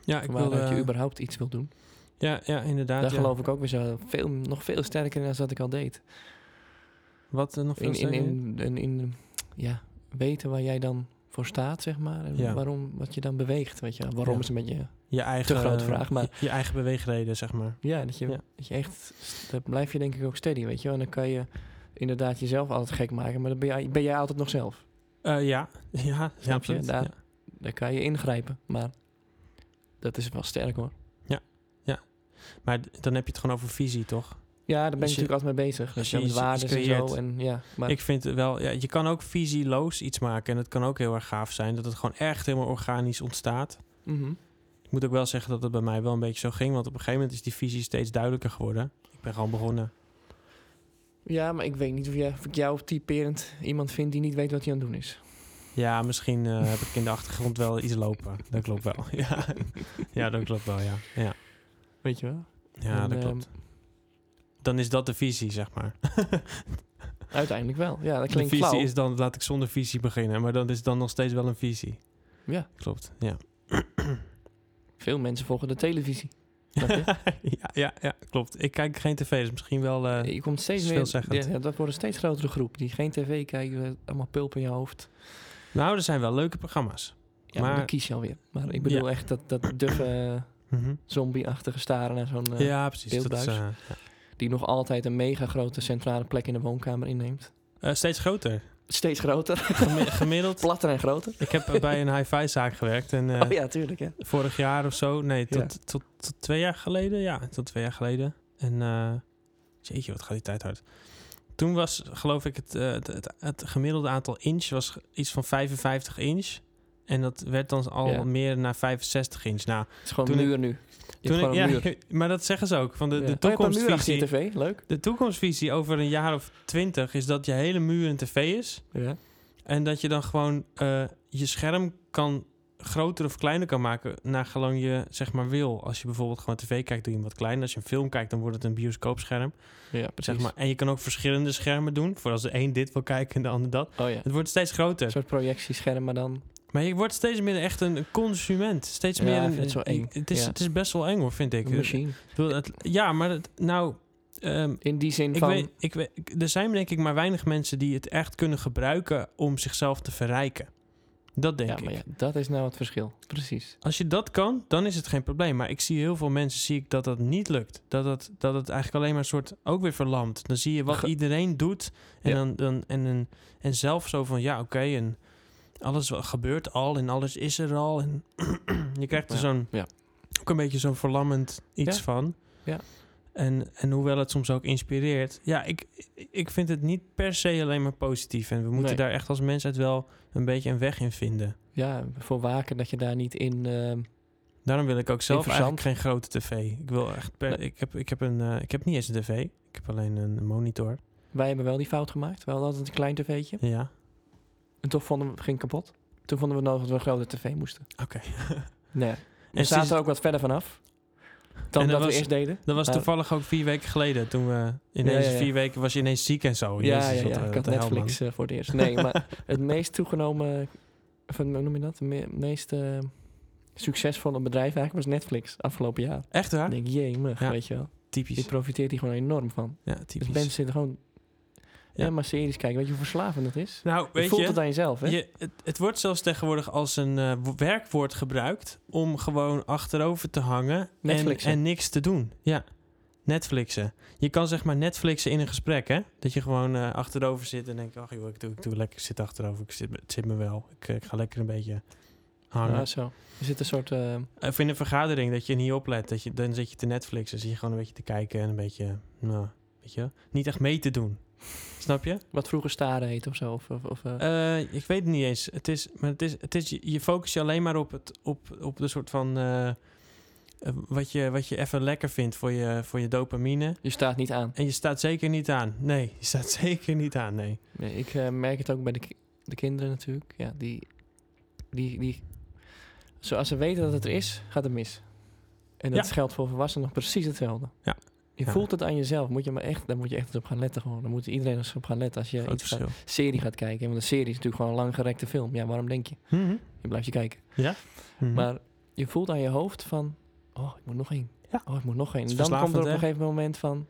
[SPEAKER 1] Ja, ik
[SPEAKER 2] Van
[SPEAKER 1] wil,
[SPEAKER 2] waaruit je
[SPEAKER 1] eh,
[SPEAKER 2] überhaupt iets wil doen.
[SPEAKER 1] ja, ja, inderdaad.
[SPEAKER 2] Daar
[SPEAKER 1] ja.
[SPEAKER 2] geloof ik ook weer zo veel, nog veel sterker in dan dat ik al deed.
[SPEAKER 1] Wat eh, nog veel
[SPEAKER 2] In, in,
[SPEAKER 1] sterker?
[SPEAKER 2] in, in, in, ja, weten waar jij dan voor staat, zeg maar. En
[SPEAKER 1] Ja.
[SPEAKER 2] waarom, wat je dan beweegt, weet je wel. Waarom
[SPEAKER 1] Ja.
[SPEAKER 2] is een beetje
[SPEAKER 1] je eigen,
[SPEAKER 2] grote vraag, maar-
[SPEAKER 1] Je, je eigen beweegreden, zeg maar.
[SPEAKER 2] Ja, dat je,
[SPEAKER 1] Ja.
[SPEAKER 2] Dat je echt, dat blijf je denk ik ook steady, weet je wel. En dan kan je inderdaad jezelf altijd gek maken, maar dan ben jij, ben jij altijd nog zelf.
[SPEAKER 1] Eh, ja, ja, ja,
[SPEAKER 2] Snap je?
[SPEAKER 1] absoluut.
[SPEAKER 2] Daar-
[SPEAKER 1] Ja.
[SPEAKER 2] Dan kan je ingrijpen, maar dat is wel sterk hoor.
[SPEAKER 1] Maar d- dan heb je het gewoon over visie, toch?
[SPEAKER 2] Ja, daar ben
[SPEAKER 1] Dus
[SPEAKER 2] ik
[SPEAKER 1] je-
[SPEAKER 2] natuurlijk altijd mee bezig.
[SPEAKER 1] dus
[SPEAKER 2] Dus je
[SPEAKER 1] je
[SPEAKER 2] met
[SPEAKER 1] is-
[SPEAKER 2] waarden en
[SPEAKER 1] creëert-
[SPEAKER 2] zo. En, ja, maar
[SPEAKER 1] Ik vind het wel, ja, je kan ook visieloos iets maken. En het kan ook heel erg gaaf zijn dat het gewoon echt helemaal organisch ontstaat.
[SPEAKER 2] Mhm.
[SPEAKER 1] Ik moet ook wel zeggen dat het bij mij wel een beetje zo ging. Want op een gegeven moment is die visie steeds duidelijker geworden. Ik ben gewoon begonnen.
[SPEAKER 2] ja, maar ik weet niet of, jij, of ik jou typerend iemand vind die niet weet wat hij aan het doen is.
[SPEAKER 1] Ja, misschien eh, heb ik in de achtergrond wel iets lopen. Dat klopt wel. Ja, ja dat klopt wel, ja. Ja,
[SPEAKER 2] Weet je wel?
[SPEAKER 1] ja
[SPEAKER 2] En,
[SPEAKER 1] dat
[SPEAKER 2] ehm,
[SPEAKER 1] klopt. Dan is dat de visie, zeg maar.
[SPEAKER 2] Uiteindelijk wel. Ja, dat
[SPEAKER 1] De
[SPEAKER 2] klinkt
[SPEAKER 1] visie
[SPEAKER 2] flauw.
[SPEAKER 1] is dan, laat ik zonder visie beginnen. Maar dat is dan nog steeds wel een visie.
[SPEAKER 2] Ja.
[SPEAKER 1] Klopt, ja.
[SPEAKER 2] Veel mensen volgen de televisie. Snap je?
[SPEAKER 1] ja, ja, ja, klopt. Ik kijk geen tv, dus misschien wel... eh,
[SPEAKER 2] je komt steeds
[SPEAKER 1] is
[SPEAKER 2] meer...
[SPEAKER 1] veelzeggend.
[SPEAKER 2] Ja, dat wordt een steeds grotere groep. Die geen tv kijken, allemaal pulp in je hoofd.
[SPEAKER 1] Nou, er zijn wel leuke programma's.
[SPEAKER 2] Ja, maar,
[SPEAKER 1] Maar-
[SPEAKER 2] dan kies je alweer. Maar ik bedoel echt dat, dat duffe eh, zombie-achtige staren naar zo'n... eh,
[SPEAKER 1] ja, precies. Dat is,
[SPEAKER 2] beeldbuis.
[SPEAKER 1] eh, ja.
[SPEAKER 2] Die nog altijd een mega grote centrale plek in de woonkamer inneemt.
[SPEAKER 1] Eh, steeds groter.
[SPEAKER 2] Steeds groter.
[SPEAKER 1] Gemi- gemiddeld.
[SPEAKER 2] Platter en groter.
[SPEAKER 1] ik heb eh, bij een hi-fi zaak gewerkt. En eh,
[SPEAKER 2] oh ja, tuurlijk hè.
[SPEAKER 1] vorig jaar of zo. Nee, tot,
[SPEAKER 2] Ja.
[SPEAKER 1] tot, tot, twee jaar geleden. Ja, tot twee jaar geleden. En eh jeetje, wat gaat die tijd hard. Toen was, geloof ik, het, eh, het, het, het gemiddelde aantal inch was ge- iets van 55 inch. En dat werd dan al
[SPEAKER 2] Ja.
[SPEAKER 1] meer naar 65 inch. Nou,
[SPEAKER 2] Het is gewoon
[SPEAKER 1] Toen ik-
[SPEAKER 2] muur nu. Je hebt
[SPEAKER 1] toen
[SPEAKER 2] gewoon
[SPEAKER 1] ik-
[SPEAKER 2] een muur.
[SPEAKER 1] ja, maar dat zeggen ze ook. Van de,
[SPEAKER 2] Ja.
[SPEAKER 1] de,
[SPEAKER 2] Oh, je hebt een muur achter
[SPEAKER 1] toekomstvisie,
[SPEAKER 2] je tv, leuk.
[SPEAKER 1] de toekomstvisie over een jaar of twintig is dat je hele muur een tv is.
[SPEAKER 2] Ja.
[SPEAKER 1] En dat je dan gewoon eh, je scherm kan groter of kleiner kan maken naar gelang je zeg maar wil. Als je bijvoorbeeld gewoon tv kijkt, doe je hem wat kleiner. Als je een film kijkt, dan wordt het een bioscoopscherm.
[SPEAKER 2] ja
[SPEAKER 1] Zeg maar. En je kan ook verschillende schermen doen. Voor als de een dit wil kijken en de ander dat.
[SPEAKER 2] Oh ja,
[SPEAKER 1] Het wordt steeds
[SPEAKER 2] een
[SPEAKER 1] groter.
[SPEAKER 2] soort projectiescherm, maar dan...
[SPEAKER 1] Maar je wordt steeds meer echt een consument. Steeds
[SPEAKER 2] Ja,
[SPEAKER 1] meer
[SPEAKER 2] ik
[SPEAKER 1] een...
[SPEAKER 2] vind het zo eng.
[SPEAKER 1] Het is,
[SPEAKER 2] Ja.
[SPEAKER 1] het is best wel eng hoor, vind ik. eh,
[SPEAKER 2] Een machine.
[SPEAKER 1] Ik bedoel, het- ja, maar het- nou... ehm,
[SPEAKER 2] In die zin
[SPEAKER 1] ik
[SPEAKER 2] van...
[SPEAKER 1] weet, ik weet, ik- er zijn denk ik maar weinig mensen die het echt kunnen gebruiken om zichzelf te verrijken. Dat denk
[SPEAKER 2] ja,
[SPEAKER 1] ik.
[SPEAKER 2] maar ja, dat is nou het verschil. Precies.
[SPEAKER 1] Als je dat kan, dan is het geen probleem. Maar ik zie heel veel mensen zie ik dat dat niet lukt. Dat het, dat het eigenlijk alleen maar een soort ook weer verlamt. Dan zie je wat
[SPEAKER 2] Ge-
[SPEAKER 1] iedereen doet. En,
[SPEAKER 2] Ja.
[SPEAKER 1] dan, dan, en, en, en zelf zo van ja, oké. en alles wa- gebeurt al en alles is er al. En je krijgt er
[SPEAKER 2] Ja,
[SPEAKER 1] zo'n
[SPEAKER 2] ja.
[SPEAKER 1] ook een beetje zo'n verlammend iets
[SPEAKER 2] Ja,
[SPEAKER 1] van.
[SPEAKER 2] ja.
[SPEAKER 1] En, en hoewel het soms ook inspireert. Ja, ik, ik vind het niet per se alleen maar positief. En we moeten
[SPEAKER 2] Nee.
[SPEAKER 1] daar echt als mensheid wel een beetje een weg in vinden.
[SPEAKER 2] Ja, voor waken dat je daar niet in... ehm,
[SPEAKER 1] Daarom wil ik ook zelf
[SPEAKER 2] verzand.
[SPEAKER 1] eigenlijk geen grote tv. Ik wil echt per, ik heb ik heb een eh, ik heb niet eens een tv. Ik heb alleen een monitor.
[SPEAKER 2] wij hebben wel die fout gemaakt. We hadden altijd een klein tv'tje.
[SPEAKER 1] Ja.
[SPEAKER 2] En toch vonden we het ging kapot. Toen vonden we nodig dat we een grote tv moesten.
[SPEAKER 1] Oké.
[SPEAKER 2] Nee. We
[SPEAKER 1] En
[SPEAKER 2] zaten
[SPEAKER 1] sinds-
[SPEAKER 2] er ook wat verder vanaf.
[SPEAKER 1] En
[SPEAKER 2] Dan
[SPEAKER 1] dat
[SPEAKER 2] dat
[SPEAKER 1] was-
[SPEAKER 2] we eerst deden.
[SPEAKER 1] dat was
[SPEAKER 2] Maar-
[SPEAKER 1] toevallig ook vier weken geleden. Toen we in
[SPEAKER 2] Ja,
[SPEAKER 1] deze
[SPEAKER 2] ja, ja.
[SPEAKER 1] vier weken was je ineens ziek en zo.
[SPEAKER 2] Ja,
[SPEAKER 1] Jezus,
[SPEAKER 2] ja,
[SPEAKER 1] wat,
[SPEAKER 2] ja.
[SPEAKER 1] eh, wat
[SPEAKER 2] ik had
[SPEAKER 1] de hel, man.
[SPEAKER 2] Netflix eh, voor het eerst. Nee, maar het meest toegenomen... Of eh, hoe noem je dat? Het me- meest eh, succesvolle bedrijf eigenlijk was Netflix afgelopen jaar.
[SPEAKER 1] Echt waar?
[SPEAKER 2] Ik denk, jemig,
[SPEAKER 1] Ah. Ja.
[SPEAKER 2] weet je wel. Die
[SPEAKER 1] Typisch.
[SPEAKER 2] profiteert hier gewoon enorm van.
[SPEAKER 1] Ja,
[SPEAKER 2] Dus
[SPEAKER 1] typisch.
[SPEAKER 2] mensen zitten gewoon... Ja,
[SPEAKER 1] Ja.
[SPEAKER 2] maar series kijken. Weet je hoe verslavend dat is?
[SPEAKER 1] nou,
[SPEAKER 2] je
[SPEAKER 1] weet
[SPEAKER 2] voelt
[SPEAKER 1] je,
[SPEAKER 2] het aan jezelf, hè?
[SPEAKER 1] je het, het wordt zelfs tegenwoordig als een eh, wo- werkwoord gebruikt om gewoon achterover te hangen en,
[SPEAKER 2] Netflixen.
[SPEAKER 1] en niks te doen. Ja. Netflixen. Je kan zeg maar Netflixen in een gesprek, hè? Dat je gewoon eh, achterover zit en denkt, ach joh, ik doe, ik doe lekker, ik zit achterover, ik zit, me- het zit me wel. Ik, eh, ik ga lekker een beetje hangen.
[SPEAKER 2] Ja, zo. Er zit een soort... eh,
[SPEAKER 1] Of in een vergadering dat je niet oplet, dat je, dan zit je te Netflixen, zit je gewoon een beetje te kijken en een beetje, nou, weet je, wel, niet echt mee te doen. Snap je?
[SPEAKER 2] wat vroeger staren heet of zo. Of, of, of, eh,
[SPEAKER 1] Eh, ik weet het niet eens. Het is, maar het is, het is, je focus je alleen maar op, het, op, op de soort van. eh, eh, wat, je, wat je even lekker vindt voor je, voor je dopamine.
[SPEAKER 2] je staat niet aan.
[SPEAKER 1] En je staat zeker niet aan. Nee, je staat zeker niet aan. Nee.
[SPEAKER 2] Nee, ik eh, merk het ook bij de, ki- de kinderen natuurlijk. Ja, die, die, die... Zoals ze weten dat het er is, gaat het mis. En dat
[SPEAKER 1] Ja.
[SPEAKER 2] geldt voor volwassenen nog precies hetzelfde.
[SPEAKER 1] Ja.
[SPEAKER 2] Je
[SPEAKER 1] Ja.
[SPEAKER 2] voelt het aan jezelf. Moet je maar echt, daar moet je echt op gaan letten gewoon. Daar moet iedereen eens op gaan letten. Als je
[SPEAKER 1] Groot
[SPEAKER 2] iets gaat,
[SPEAKER 1] verschil.
[SPEAKER 2] serie gaat kijken. Want een serie is natuurlijk gewoon een langgerekte film. Ja, waarom denk je?
[SPEAKER 1] Mhm.
[SPEAKER 2] Je blijft je kijken.
[SPEAKER 1] Ja. Mhm.
[SPEAKER 2] Maar je voelt aan je hoofd van... Oh, ik moet nog één.
[SPEAKER 1] Ja.
[SPEAKER 2] Oh, ik moet nog één.
[SPEAKER 1] Het
[SPEAKER 2] En
[SPEAKER 1] is
[SPEAKER 2] dan komt er op
[SPEAKER 1] verslavend,
[SPEAKER 2] een
[SPEAKER 1] hè?
[SPEAKER 2] gegeven moment van...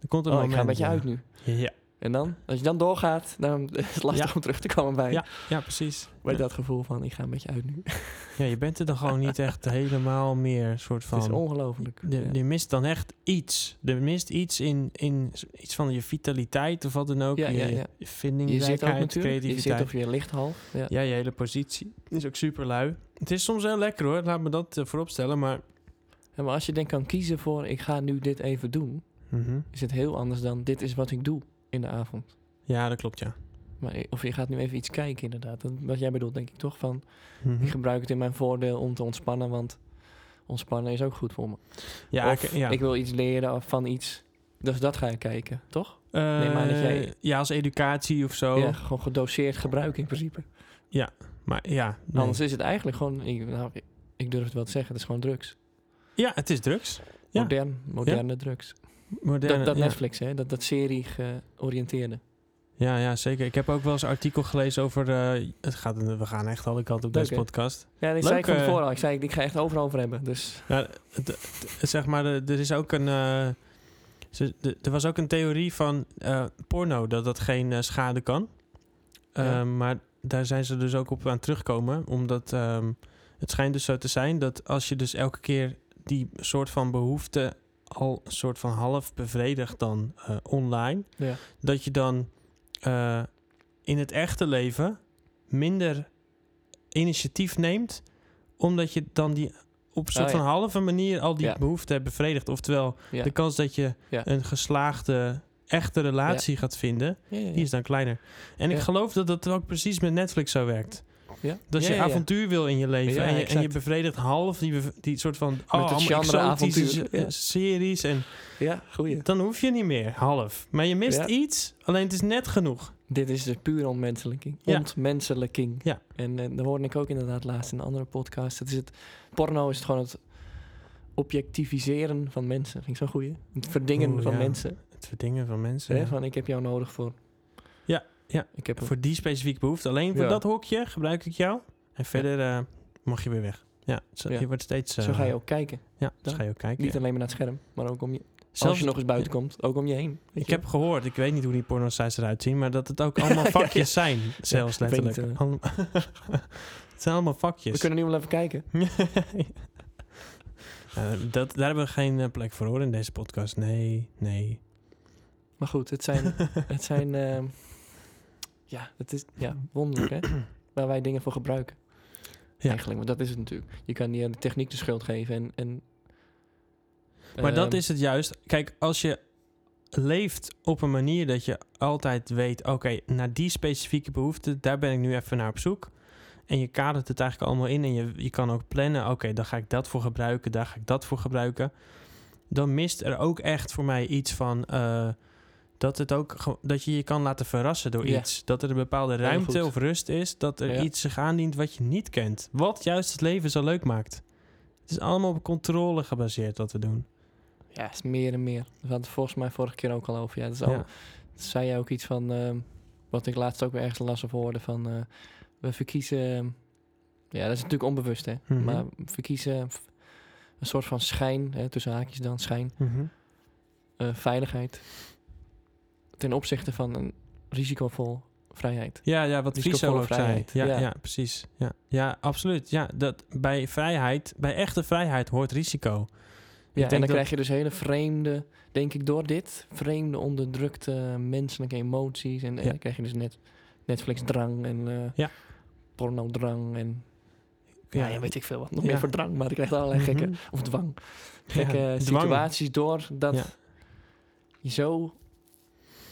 [SPEAKER 1] er komt een
[SPEAKER 2] Oh, ik
[SPEAKER 1] moment,
[SPEAKER 2] ga een beetje
[SPEAKER 1] ja.
[SPEAKER 2] uit nu.
[SPEAKER 1] Ja,
[SPEAKER 2] En dan, als je dan doorgaat, dan is het lastig
[SPEAKER 1] Ja.
[SPEAKER 2] om terug te komen bij,
[SPEAKER 1] ja precies.
[SPEAKER 2] bij
[SPEAKER 1] Ja.
[SPEAKER 2] dat gevoel van ik ga een beetje uit nu.
[SPEAKER 1] Ja, je bent er dan gewoon niet echt helemaal meer. soort van.
[SPEAKER 2] het is ongelooflijk.
[SPEAKER 1] Je,
[SPEAKER 2] ja.
[SPEAKER 1] je mist dan echt iets. Je mist iets in, in s- iets van je vitaliteit of wat dan ook.
[SPEAKER 2] Ja,
[SPEAKER 1] je
[SPEAKER 2] ja, ja.
[SPEAKER 1] je
[SPEAKER 2] Je zit ook
[SPEAKER 1] vindingrijkheid,
[SPEAKER 2] natuurlijk, je zit
[SPEAKER 1] creativiteit.
[SPEAKER 2] op je licht half. Ja.
[SPEAKER 1] Ja, je hele positie is ook super lui. Het is soms heel lekker hoor, laat me dat eh, vooropstellen. Maar
[SPEAKER 2] Ja, maar als je dan kan kiezen voor ik ga nu dit even doen, is het heel anders dan dit is wat ik doe in de avond.
[SPEAKER 1] ja, dat klopt ja.
[SPEAKER 2] Maar, i- of je gaat nu even iets kijken inderdaad. Dat, wat jij bedoelt denk ik toch van
[SPEAKER 1] Mhm.
[SPEAKER 2] ik gebruik het in mijn voordeel om te ontspannen, want ontspannen is ook goed voor me.
[SPEAKER 1] Ja,
[SPEAKER 2] of
[SPEAKER 1] ik, ja.
[SPEAKER 2] ik wil iets leren of van iets, dus dat ga ik kijken, toch?
[SPEAKER 1] Eh,
[SPEAKER 2] neem aan dat jij-
[SPEAKER 1] ja, als educatie of zo.
[SPEAKER 2] Ja, gewoon gedoseerd gebruik in principe.
[SPEAKER 1] Maar ja, nee.
[SPEAKER 2] Anders is het eigenlijk gewoon, ik, nou, ik- ik durf het wel te zeggen, het is gewoon drugs.
[SPEAKER 1] ja, het is drugs. Ja.
[SPEAKER 2] Modern, moderne drugs.
[SPEAKER 1] Moderne,
[SPEAKER 2] dat dat
[SPEAKER 1] ja.
[SPEAKER 2] Netflix, hè? Dat, dat serie georiënteerde.
[SPEAKER 1] Ja, ja, zeker. Ik heb ook wel eens een artikel gelezen over... eh, het gaat, we gaan echt alle kanten op
[SPEAKER 2] Leuk,
[SPEAKER 1] deze
[SPEAKER 2] hè?
[SPEAKER 1] podcast.
[SPEAKER 2] Ja, dit
[SPEAKER 1] Leuk,
[SPEAKER 2] zei ik van
[SPEAKER 1] eh.
[SPEAKER 2] tevoren al. Ik zei, ik ga echt overal over hebben. Dus
[SPEAKER 1] Nou, het- het- zeg maar, eh, er is ook een. eh, ze- de- er was ook een theorie van eh, porno dat dat geen eh, schade kan. Eh,
[SPEAKER 2] Ja.
[SPEAKER 1] Maar daar zijn ze dus ook op aan terugkomen. Omdat ehm, het schijnt dus zo te zijn dat als je dus elke keer die soort van behoefte al een soort van half bevredigt dan eh, online,
[SPEAKER 2] Ja.
[SPEAKER 1] dat je dan eh, in het echte leven minder initiatief neemt, omdat je dan die op een soort
[SPEAKER 2] Ah,
[SPEAKER 1] van
[SPEAKER 2] ja.
[SPEAKER 1] halve manier al die
[SPEAKER 2] Ja.
[SPEAKER 1] behoefte hebt bevredigd. Oftewel,
[SPEAKER 2] Ja.
[SPEAKER 1] de kans dat je
[SPEAKER 2] Ja.
[SPEAKER 1] een geslaagde echte relatie gaat vinden,
[SPEAKER 2] Ja, ja, ja.
[SPEAKER 1] die is dan kleiner. En ik
[SPEAKER 2] Ja.
[SPEAKER 1] geloof dat dat ook precies met Netflix zo werkt.
[SPEAKER 2] Ja.
[SPEAKER 1] Dat
[SPEAKER 2] Ja,
[SPEAKER 1] dus je
[SPEAKER 2] ja, ja.
[SPEAKER 1] avontuur wil in je leven.
[SPEAKER 2] Ja,
[SPEAKER 1] en, je, en
[SPEAKER 2] exact.
[SPEAKER 1] je bevredigt half die, bev- die soort van... Oh,
[SPEAKER 2] het
[SPEAKER 1] allemaal
[SPEAKER 2] genre
[SPEAKER 1] exotische
[SPEAKER 2] avontuur,
[SPEAKER 1] s-
[SPEAKER 2] ja.
[SPEAKER 1] series. En
[SPEAKER 2] Ja, goeie.
[SPEAKER 1] dan hoef je niet meer, half. Maar je mist
[SPEAKER 2] Ja.
[SPEAKER 1] iets, alleen het is net genoeg.
[SPEAKER 2] Dit is de puur ontmenselijking.
[SPEAKER 1] Ja.
[SPEAKER 2] Ontmenselijking.
[SPEAKER 1] Ja.
[SPEAKER 2] En, eh, dat hoorde ik ook inderdaad laatst in een andere podcast. Het is het, porno is het gewoon het objectiviseren van mensen. Vind ik zo'n goeie. Het verdingen
[SPEAKER 1] Oeh,
[SPEAKER 2] van
[SPEAKER 1] Oh, ja.
[SPEAKER 2] mensen.
[SPEAKER 1] Het verdingen van mensen.
[SPEAKER 2] Hè?
[SPEAKER 1] ja.
[SPEAKER 2] Van ik heb jou nodig voor...
[SPEAKER 1] Ja, ja.
[SPEAKER 2] Ik heb
[SPEAKER 1] Voor die specifieke behoefte. Alleen voor
[SPEAKER 2] Ja.
[SPEAKER 1] dat hokje gebruik ik jou. En verder eh, mag je weer weg. Ja, zo,
[SPEAKER 2] Ja.
[SPEAKER 1] je wordt steeds... eh,
[SPEAKER 2] Zo ga je ook kijken.
[SPEAKER 1] Ja, zo
[SPEAKER 2] dan.
[SPEAKER 1] ga je ook kijken.
[SPEAKER 2] Niet alleen maar naar het scherm, maar ook om je...
[SPEAKER 1] Zelfs-
[SPEAKER 2] als je nog eens buiten komt, ook om je heen. weet
[SPEAKER 1] Ik
[SPEAKER 2] je
[SPEAKER 1] heb gehoord, ik weet niet hoe die porno-sites eruit zien, maar dat het ook allemaal
[SPEAKER 2] Ja,
[SPEAKER 1] vakjes
[SPEAKER 2] ja.
[SPEAKER 1] zijn. Zelfs
[SPEAKER 2] ik weet
[SPEAKER 1] letterlijk.
[SPEAKER 2] niet, eh.
[SPEAKER 1] Allem- het zijn allemaal
[SPEAKER 2] wel. We
[SPEAKER 1] vakjes.
[SPEAKER 2] kunnen nu wel even kijken.
[SPEAKER 1] Eh, dat, daar hebben we geen eh, plek voor hoor in deze podcast. Nee, nee.
[SPEAKER 2] Maar goed, het zijn... het zijn ehm, ja, het is ja, wonderlijk hè. Waar wij dingen voor gebruiken.
[SPEAKER 1] Ja.
[SPEAKER 2] Eigenlijk, want dat is het natuurlijk. Je kan niet aan de techniek de schuld geven en... en
[SPEAKER 1] Maar dat
[SPEAKER 2] ehm,
[SPEAKER 1] is het juist. Kijk, als je leeft op een manier dat je altijd weet... oké, naar die specifieke behoefte, daar ben ik nu even naar op zoek. En je kadert het eigenlijk allemaal in en je, je kan ook plannen... oké, daar ga ik dat voor gebruiken, daar ga ik dat voor gebruiken. Dan mist er ook echt voor mij iets van... eh, dat, het ook, ge- dat je je kan laten verrassen door
[SPEAKER 2] Ja.
[SPEAKER 1] iets. Dat er een bepaalde
[SPEAKER 2] Heel
[SPEAKER 1] ruimte
[SPEAKER 2] goed.
[SPEAKER 1] of rust is. Dat er
[SPEAKER 2] Ja.
[SPEAKER 1] iets zich aandient wat je niet kent. Wat juist het leven zo leuk maakt. Het is allemaal op controle gebaseerd wat we doen.
[SPEAKER 2] Ja, het is meer en meer. We hadden het volgens mij vorige keer ook al over. Ja, dat is al,
[SPEAKER 1] Ja.
[SPEAKER 2] zei jij ook iets van... ehm, wat ik laatst ook weer ergens las of hoorde van... eh, we verkiezen... ehm, ja, dat is natuurlijk onbewust hè.
[SPEAKER 1] Mhm.
[SPEAKER 2] Maar we verkiezen f- een soort van schijn, hè, tussen haakjes dan, schijn,
[SPEAKER 1] Mhm.
[SPEAKER 2] eh, veiligheid. Ten opzichte van een risicovol vrijheid.
[SPEAKER 1] Ja, ja, wat
[SPEAKER 2] Dus
[SPEAKER 1] Friso
[SPEAKER 2] controle
[SPEAKER 1] ook zei.
[SPEAKER 2] vrijheid.
[SPEAKER 1] Ja, ja.
[SPEAKER 2] Ja.
[SPEAKER 1] precies. Ja, ja absoluut. Ja, dat bij vrijheid, bij echte vrijheid hoort risico.
[SPEAKER 2] Ja, en
[SPEAKER 1] denk
[SPEAKER 2] dan
[SPEAKER 1] dat-
[SPEAKER 2] krijg je dus hele vreemde, denk ik door dit, vreemde onderdrukte menselijke emoties. En, en
[SPEAKER 1] Ja.
[SPEAKER 2] dan krijg je dus net Netflix-drang en eh,
[SPEAKER 1] Ja.
[SPEAKER 2] porno-drang en
[SPEAKER 1] Ja,
[SPEAKER 2] nou ja, weet ik veel wat. Nog
[SPEAKER 1] Ja.
[SPEAKER 2] meer voor drang, maar ik krijg allerlei
[SPEAKER 1] Mhm.
[SPEAKER 2] gekke, of dwang, gekke
[SPEAKER 1] Ja, dwang.
[SPEAKER 2] situaties door dat
[SPEAKER 1] Ja.
[SPEAKER 2] je zo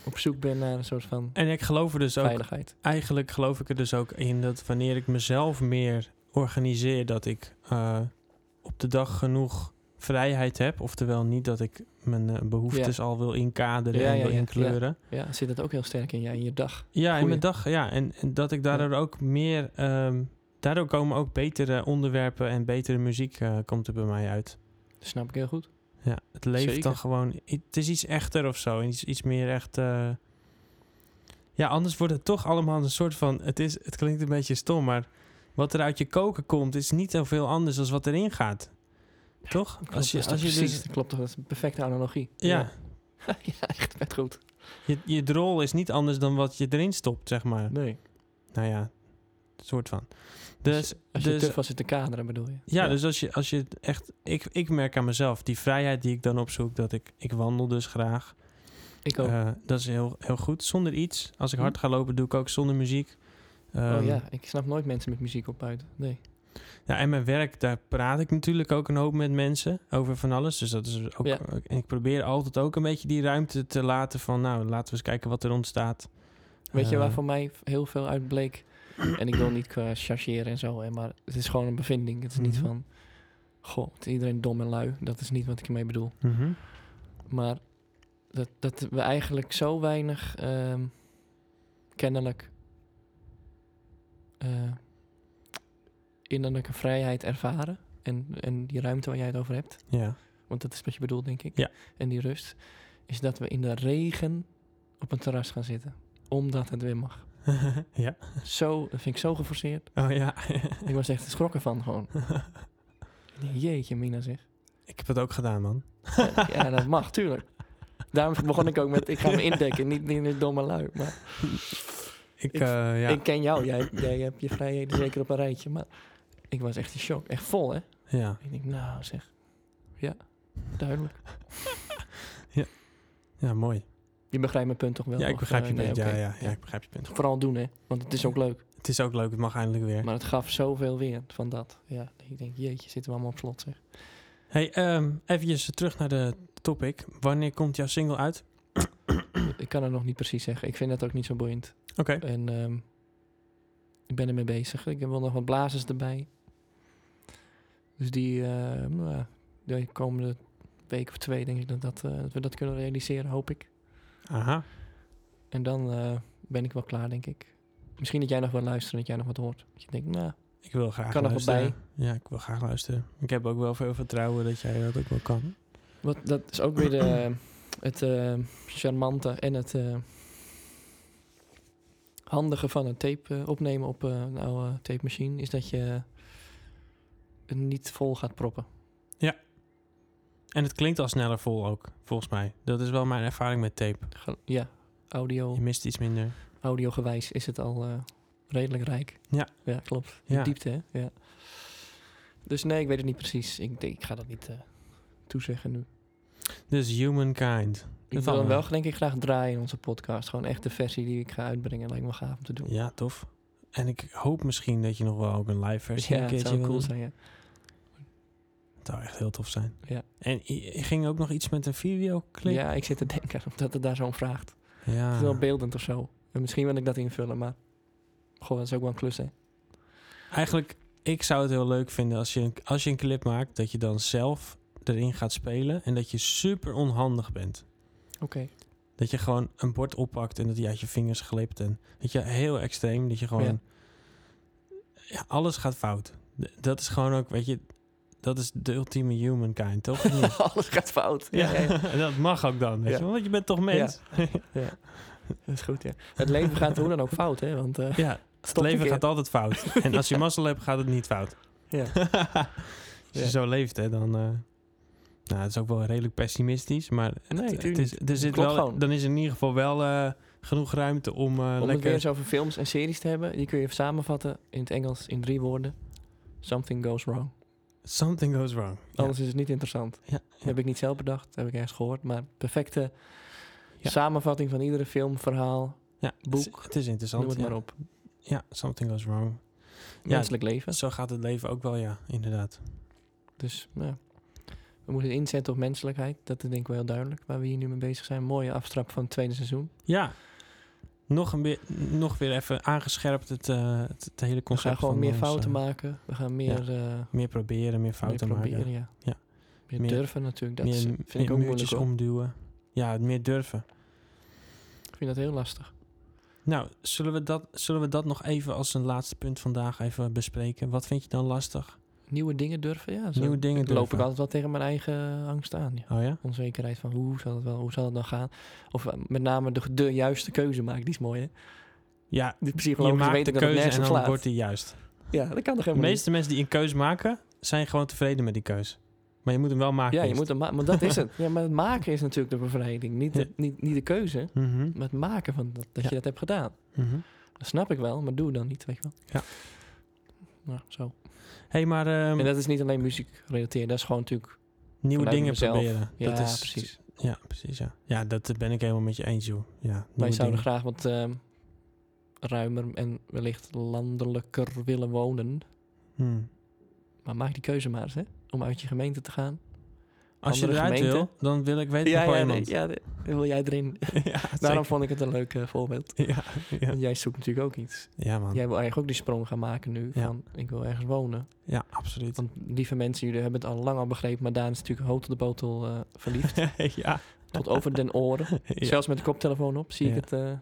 [SPEAKER 2] op zoek bent naar een soort van
[SPEAKER 1] En ik geloof er dus ook,
[SPEAKER 2] veiligheid.
[SPEAKER 1] eigenlijk geloof ik er dus ook in dat wanneer ik mezelf meer organiseer, dat ik eh, op de dag genoeg vrijheid heb. Oftewel niet dat ik mijn eh, behoeftes al wil inkaderen
[SPEAKER 2] Ja,
[SPEAKER 1] en
[SPEAKER 2] ja,
[SPEAKER 1] wil
[SPEAKER 2] ja,
[SPEAKER 1] inkleuren.
[SPEAKER 2] Ja, zit dat ook heel sterk in, ja, in je dag.
[SPEAKER 1] Ja, in
[SPEAKER 2] Goeie.
[SPEAKER 1] mijn dag. Ja, en, en dat ik daardoor ook meer. ehm, daardoor komen ook betere onderwerpen en betere muziek eh, komt er bij mij uit.
[SPEAKER 2] Dat snap ik heel goed.
[SPEAKER 1] Ja, het leeft
[SPEAKER 2] Zeker.
[SPEAKER 1] dan gewoon. i- Het is iets echter of zo. Iets, iets meer echt. eh, ja, anders wordt het toch allemaal een soort van. Het, is, het klinkt een beetje stom, maar wat er uit je koken komt, is niet zoveel anders dan wat erin gaat. Toch?
[SPEAKER 2] Klopt, als je, als je
[SPEAKER 1] dus-
[SPEAKER 2] precies, dat klopt, dat is een perfecte analogie.
[SPEAKER 1] ja,
[SPEAKER 2] ja, echt vet goed.
[SPEAKER 1] je, je drol is niet anders dan wat je erin stopt, zeg maar.
[SPEAKER 2] Nee.
[SPEAKER 1] Nou ja, soort van.
[SPEAKER 2] Dus,
[SPEAKER 1] Dus,
[SPEAKER 2] als je
[SPEAKER 1] dus-
[SPEAKER 2] te vast zit te kaderen, bedoel je?
[SPEAKER 1] Ja, dus als je, als je het echt. Ik, ik merk aan mezelf die vrijheid die ik dan opzoek, dat ik. Ik wandel dus graag.
[SPEAKER 2] Ik ook.
[SPEAKER 1] Eh, dat is heel, heel goed. Zonder iets. Als ik
[SPEAKER 2] Hm.
[SPEAKER 1] hard ga lopen, doe ik ook zonder muziek. Ehm,
[SPEAKER 2] oh ja, ik snap nooit mensen met muziek op buiten. Nee.
[SPEAKER 1] ja, en mijn werk, daar praat ik natuurlijk ook een hoop met mensen over van alles. Dus dat is ook.
[SPEAKER 2] Ja.
[SPEAKER 1] En ik probeer altijd ook een beetje die ruimte te laten van. Nou, laten we eens kijken wat er ontstaat.
[SPEAKER 2] Weet je
[SPEAKER 1] Eh,
[SPEAKER 2] waar voor mij v- heel veel uit bleek? En ik wil niet qua chargeren en zo, hè, maar het is gewoon een bevinding. Het is niet
[SPEAKER 1] Mhm.
[SPEAKER 2] van, goh, wat is iedereen dom en lui. Dat is niet wat ik ermee bedoel.
[SPEAKER 1] mhm.
[SPEAKER 2] Maar dat, dat we eigenlijk zo weinig ehm, kennelijk eh, innerlijke vrijheid ervaren. En, en die ruimte waar jij het over hebt.
[SPEAKER 1] Ja.
[SPEAKER 2] want dat is wat je bedoelt, denk ik.
[SPEAKER 1] Ja.
[SPEAKER 2] En die rust. Is dat we in de regen op een terras gaan zitten. Omdat het weer mag.
[SPEAKER 1] ja.
[SPEAKER 2] Zo, dat vind ik zo geforceerd.
[SPEAKER 1] Oh ja.
[SPEAKER 2] Ik was echt geschrokken van gewoon. Jeetje, Mina zeg.
[SPEAKER 1] ik heb het ook gedaan, man.
[SPEAKER 2] Ja, dat mag, tuurlijk. Daarom begon ik ook met, ik ga me indekken. Niet, niet in het domme lui. Maar
[SPEAKER 1] Ik,
[SPEAKER 2] Ik-
[SPEAKER 1] eh, ja.
[SPEAKER 2] ik ken jou. Jij, jij hebt je vrijheden zeker op een rijtje. Maar ik was echt in shock. Echt vol, hè.
[SPEAKER 1] ja.
[SPEAKER 2] Ik denk, nou zeg. Ja, duidelijk.
[SPEAKER 1] Ja, mooi.
[SPEAKER 2] Je begrijpt mijn punt toch wel?
[SPEAKER 1] Ja, ik
[SPEAKER 2] Of,
[SPEAKER 1] begrijp
[SPEAKER 2] eh,
[SPEAKER 1] je
[SPEAKER 2] nee,
[SPEAKER 1] punt. ja,
[SPEAKER 2] oké.
[SPEAKER 1] ja, ja, ik begrijp je punt.
[SPEAKER 2] Vooral doen, hè. Want het is ook leuk.
[SPEAKER 1] Het is ook leuk, het mag eindelijk weer.
[SPEAKER 2] Maar het gaf zoveel weer van dat. Ja, ik denk, jeetje, zitten we allemaal op slot zeg.
[SPEAKER 1] Hey, ehm eventjes terug naar de topic. Wanneer komt jouw single uit?
[SPEAKER 2] ik kan het nog niet precies zeggen. Ik vind dat ook niet zo boeiend.
[SPEAKER 1] Oké,
[SPEAKER 2] En ehm, ik ben ermee bezig. Ik heb wel nog wat blazers erbij. Dus die, eh, nou ja, de komende week of twee denk ik dat, dat, eh, dat we dat kunnen realiseren, hoop ik.
[SPEAKER 1] Eh, aha.
[SPEAKER 2] En dan eh, ben ik wel klaar, denk ik. Misschien dat jij nog wel luistert en dat jij nog wat hoort. Dat je denkt, nou,
[SPEAKER 1] Ik wil graag
[SPEAKER 2] Kan er wat
[SPEAKER 1] luisteren. Ja, ik wil graag luisteren. Ik heb ook wel veel vertrouwen dat jij dat ook wel kan.
[SPEAKER 2] wat, dat is ook weer de, het eh, charmante en het eh, handige van een tape eh, opnemen op eh, een oude tape machine. Is dat je het niet vol gaat proppen.
[SPEAKER 1] En het klinkt al sneller vol ook, volgens mij. Dat is wel mijn ervaring met tape.
[SPEAKER 2] Ge- Ja, audio,
[SPEAKER 1] Je mist iets minder.
[SPEAKER 2] audiogewijs is het al eh, redelijk rijk.
[SPEAKER 1] Ja.
[SPEAKER 2] Ja, klopt.
[SPEAKER 1] Ja.
[SPEAKER 2] Diepte, hè? Ja. Dus nee, ik weet het niet precies. Ik, denk- ik ga dat niet eh, toezeggen nu.
[SPEAKER 1] Dus humankind. zal
[SPEAKER 2] Ik wil hem
[SPEAKER 1] wel.
[SPEAKER 2] wel denk ik graag draaien in onze podcast. Gewoon echt de versie die ik ga uitbrengen. Lijkt me gaaf om te doen.
[SPEAKER 1] Ja, tof. En ik hoop misschien dat je nog wel ook een live versie een
[SPEAKER 2] het
[SPEAKER 1] keertje
[SPEAKER 2] zou
[SPEAKER 1] wil
[SPEAKER 2] cool
[SPEAKER 1] doen.
[SPEAKER 2] zijn, ja.
[SPEAKER 1] Het zou echt heel tof zijn.
[SPEAKER 2] Ja.
[SPEAKER 1] En i- i- ging ook nog iets met een videoclip?
[SPEAKER 2] Ja, ik zit te denken omdat het daar zo'n vraagt. Het
[SPEAKER 1] Ja.
[SPEAKER 2] is wel beeldend of zo. En misschien wil ik dat invullen, maar... Goh, dat is ook wel een klus, hè?
[SPEAKER 1] Eigenlijk, ik zou het heel leuk vinden als je, een- als je een clip maakt... dat je dan zelf erin gaat spelen... en dat je super onhandig bent.
[SPEAKER 2] Oké.
[SPEAKER 1] Dat je gewoon een bord oppakt en dat die uit je vingers glipt. En dat je heel extreem, dat je gewoon... Ja, alles gaat fout. D- dat is gewoon ook, weet je... Dat is de ultieme humankind, toch? Of niet?
[SPEAKER 2] Alles gaat fout.
[SPEAKER 1] ja, en dat mag ook dan, weet
[SPEAKER 2] Ja.
[SPEAKER 1] je wel, Want je bent toch mens? Ja,
[SPEAKER 2] Dat is goed, ja. Het leven gaat hoe dan ook fout, hè? Want eh,
[SPEAKER 1] het leven gaat altijd fout. En als je mazzel hebt, gaat het niet fout.
[SPEAKER 2] Ja.
[SPEAKER 1] als je
[SPEAKER 2] Ja.
[SPEAKER 1] zo leeft, hè, dan... eh, nou, het is ook wel redelijk pessimistisch, maar...
[SPEAKER 2] Nee,
[SPEAKER 1] het- eh, het
[SPEAKER 2] tuurlijk
[SPEAKER 1] is, er zit
[SPEAKER 2] Klopt
[SPEAKER 1] wel,
[SPEAKER 2] gewoon.
[SPEAKER 1] dan is er in ieder geval wel eh, genoeg ruimte om, eh,
[SPEAKER 2] Om het
[SPEAKER 1] lekker...
[SPEAKER 2] weer eens over films en series te hebben, die kun je samenvatten in het Engels in drie woorden. Something goes wrong.
[SPEAKER 1] Something goes wrong. Ja.
[SPEAKER 2] Anders is het niet interessant.
[SPEAKER 1] Ja, ja.
[SPEAKER 2] Heb ik niet zelf bedacht, heb ik ergens gehoord. Maar perfecte
[SPEAKER 1] Ja.
[SPEAKER 2] samenvatting van iedere film, verhaal,
[SPEAKER 1] Ja,
[SPEAKER 2] boek,
[SPEAKER 1] Het is, het is interessant.
[SPEAKER 2] noem het
[SPEAKER 1] ja.
[SPEAKER 2] maar op.
[SPEAKER 1] Ja, something goes wrong.
[SPEAKER 2] Menselijk leven.
[SPEAKER 1] Zo gaat het leven ook wel, ja, inderdaad.
[SPEAKER 2] Dus nou, ja. we moeten inzetten op menselijkheid. Dat is denk ik wel heel duidelijk waar we hier nu mee bezig zijn. Mooie aftrap van het tweede seizoen.
[SPEAKER 1] Ja. Nog, een weer, nog weer even aangescherpt het, eh, het, het hele
[SPEAKER 2] We
[SPEAKER 1] concept.
[SPEAKER 2] gaan gewoon
[SPEAKER 1] van
[SPEAKER 2] meer
[SPEAKER 1] ons,
[SPEAKER 2] fouten
[SPEAKER 1] eh,
[SPEAKER 2] maken. We gaan meer, eh,
[SPEAKER 1] Meer proberen, meer fouten
[SPEAKER 2] meer proberen.
[SPEAKER 1] maken.
[SPEAKER 2] Ja.
[SPEAKER 1] Ja.
[SPEAKER 2] Meer,
[SPEAKER 1] Meer-
[SPEAKER 2] durven natuurlijk. Dat
[SPEAKER 1] meer
[SPEAKER 2] is-
[SPEAKER 1] meer
[SPEAKER 2] vind ik ook moeilijk.
[SPEAKER 1] muurtjes
[SPEAKER 2] hoor.
[SPEAKER 1] omduwen. Ja, meer durven.
[SPEAKER 2] Ik vind dat heel lastig.
[SPEAKER 1] Nou, zullen we, dat, zullen we dat nog even als een laatste punt vandaag even bespreken? Wat vind je dan lastig?
[SPEAKER 2] Nieuwe dingen durven, ja. Zo
[SPEAKER 1] Nieuwe dingen
[SPEAKER 2] loop
[SPEAKER 1] durven.
[SPEAKER 2] ik altijd wel tegen mijn eigen angst aan. Ja.
[SPEAKER 1] Oh ja?
[SPEAKER 2] Onzekerheid van hoe zal, het wel, hoe zal het dan gaan? Of eh, met name de, de juiste keuze maken, die is mooi hè?
[SPEAKER 1] Ja,
[SPEAKER 2] Die
[SPEAKER 1] je
[SPEAKER 2] psychologen
[SPEAKER 1] maakt
[SPEAKER 2] weten
[SPEAKER 1] de
[SPEAKER 2] dat het
[SPEAKER 1] keuze
[SPEAKER 2] nergens
[SPEAKER 1] en
[SPEAKER 2] op
[SPEAKER 1] dan
[SPEAKER 2] slaat.
[SPEAKER 1] wordt die juist.
[SPEAKER 2] Ja, dat kan toch
[SPEAKER 1] De
[SPEAKER 2] helemaal
[SPEAKER 1] meeste mensen die een keus maken, zijn gewoon tevreden met die keus. Maar je moet hem wel
[SPEAKER 2] niet?
[SPEAKER 1] maken.
[SPEAKER 2] Ja, je
[SPEAKER 1] eerst.
[SPEAKER 2] moet hem ma- maar dat is het. Ja, maar het maken is natuurlijk de bevrijding. Niet de,
[SPEAKER 1] Ja.
[SPEAKER 2] niet, niet de keuze,
[SPEAKER 1] Mhm,
[SPEAKER 2] maar het maken van dat, dat
[SPEAKER 1] Ja.
[SPEAKER 2] je dat hebt gedaan.
[SPEAKER 1] mhm.
[SPEAKER 2] Dat snap ik wel, maar doe dan niet, weet je wel.
[SPEAKER 1] Ja.
[SPEAKER 2] Nou, zo.
[SPEAKER 1] hey, maar ehm,
[SPEAKER 2] En dat is niet alleen muziek gerelateerd, dat is gewoon natuurlijk...
[SPEAKER 1] nieuwe
[SPEAKER 2] vanuit
[SPEAKER 1] dingen
[SPEAKER 2] mezelf.
[SPEAKER 1] proberen.
[SPEAKER 2] Ja,
[SPEAKER 1] dat is,
[SPEAKER 2] precies.
[SPEAKER 1] Ja, precies. Ja. ja, dat ben ik helemaal met je eens, joh. Ja,
[SPEAKER 2] Wij
[SPEAKER 1] nieuwe
[SPEAKER 2] zouden
[SPEAKER 1] dingen.
[SPEAKER 2] graag wat ehm, ruimer en wellicht landelijker willen wonen.
[SPEAKER 1] Hmm.
[SPEAKER 2] Maar maak die keuze maar eens, hè? Om uit je gemeente te gaan.
[SPEAKER 1] Als je
[SPEAKER 2] Andere
[SPEAKER 1] eruit
[SPEAKER 2] gemeenten.
[SPEAKER 1] wil, dan wil ik weten
[SPEAKER 2] ja,
[SPEAKER 1] van
[SPEAKER 2] ja, nee,
[SPEAKER 1] iemand.
[SPEAKER 2] ja, nee, wil jij erin.
[SPEAKER 1] Ja,
[SPEAKER 2] Daarom
[SPEAKER 1] zeker.
[SPEAKER 2] vond ik het een leuk eh, voorbeeld.
[SPEAKER 1] Ja, ja.
[SPEAKER 2] Want jij zoekt natuurlijk ook iets.
[SPEAKER 1] ja, man. Ja,
[SPEAKER 2] Jij wil eigenlijk ook die sprong gaan maken nu.
[SPEAKER 1] Ja.
[SPEAKER 2] Van, ik wil ergens wonen.
[SPEAKER 1] absoluut.
[SPEAKER 2] Want lieve mensen, jullie hebben het al lang al begrepen. Maar Daan is natuurlijk hoog tot de botel eh, verliefd.
[SPEAKER 1] ja.
[SPEAKER 2] tot over den oren.
[SPEAKER 1] ja.
[SPEAKER 2] Zelfs met de koptelefoon op zie
[SPEAKER 1] Ja.
[SPEAKER 2] ik het. eh,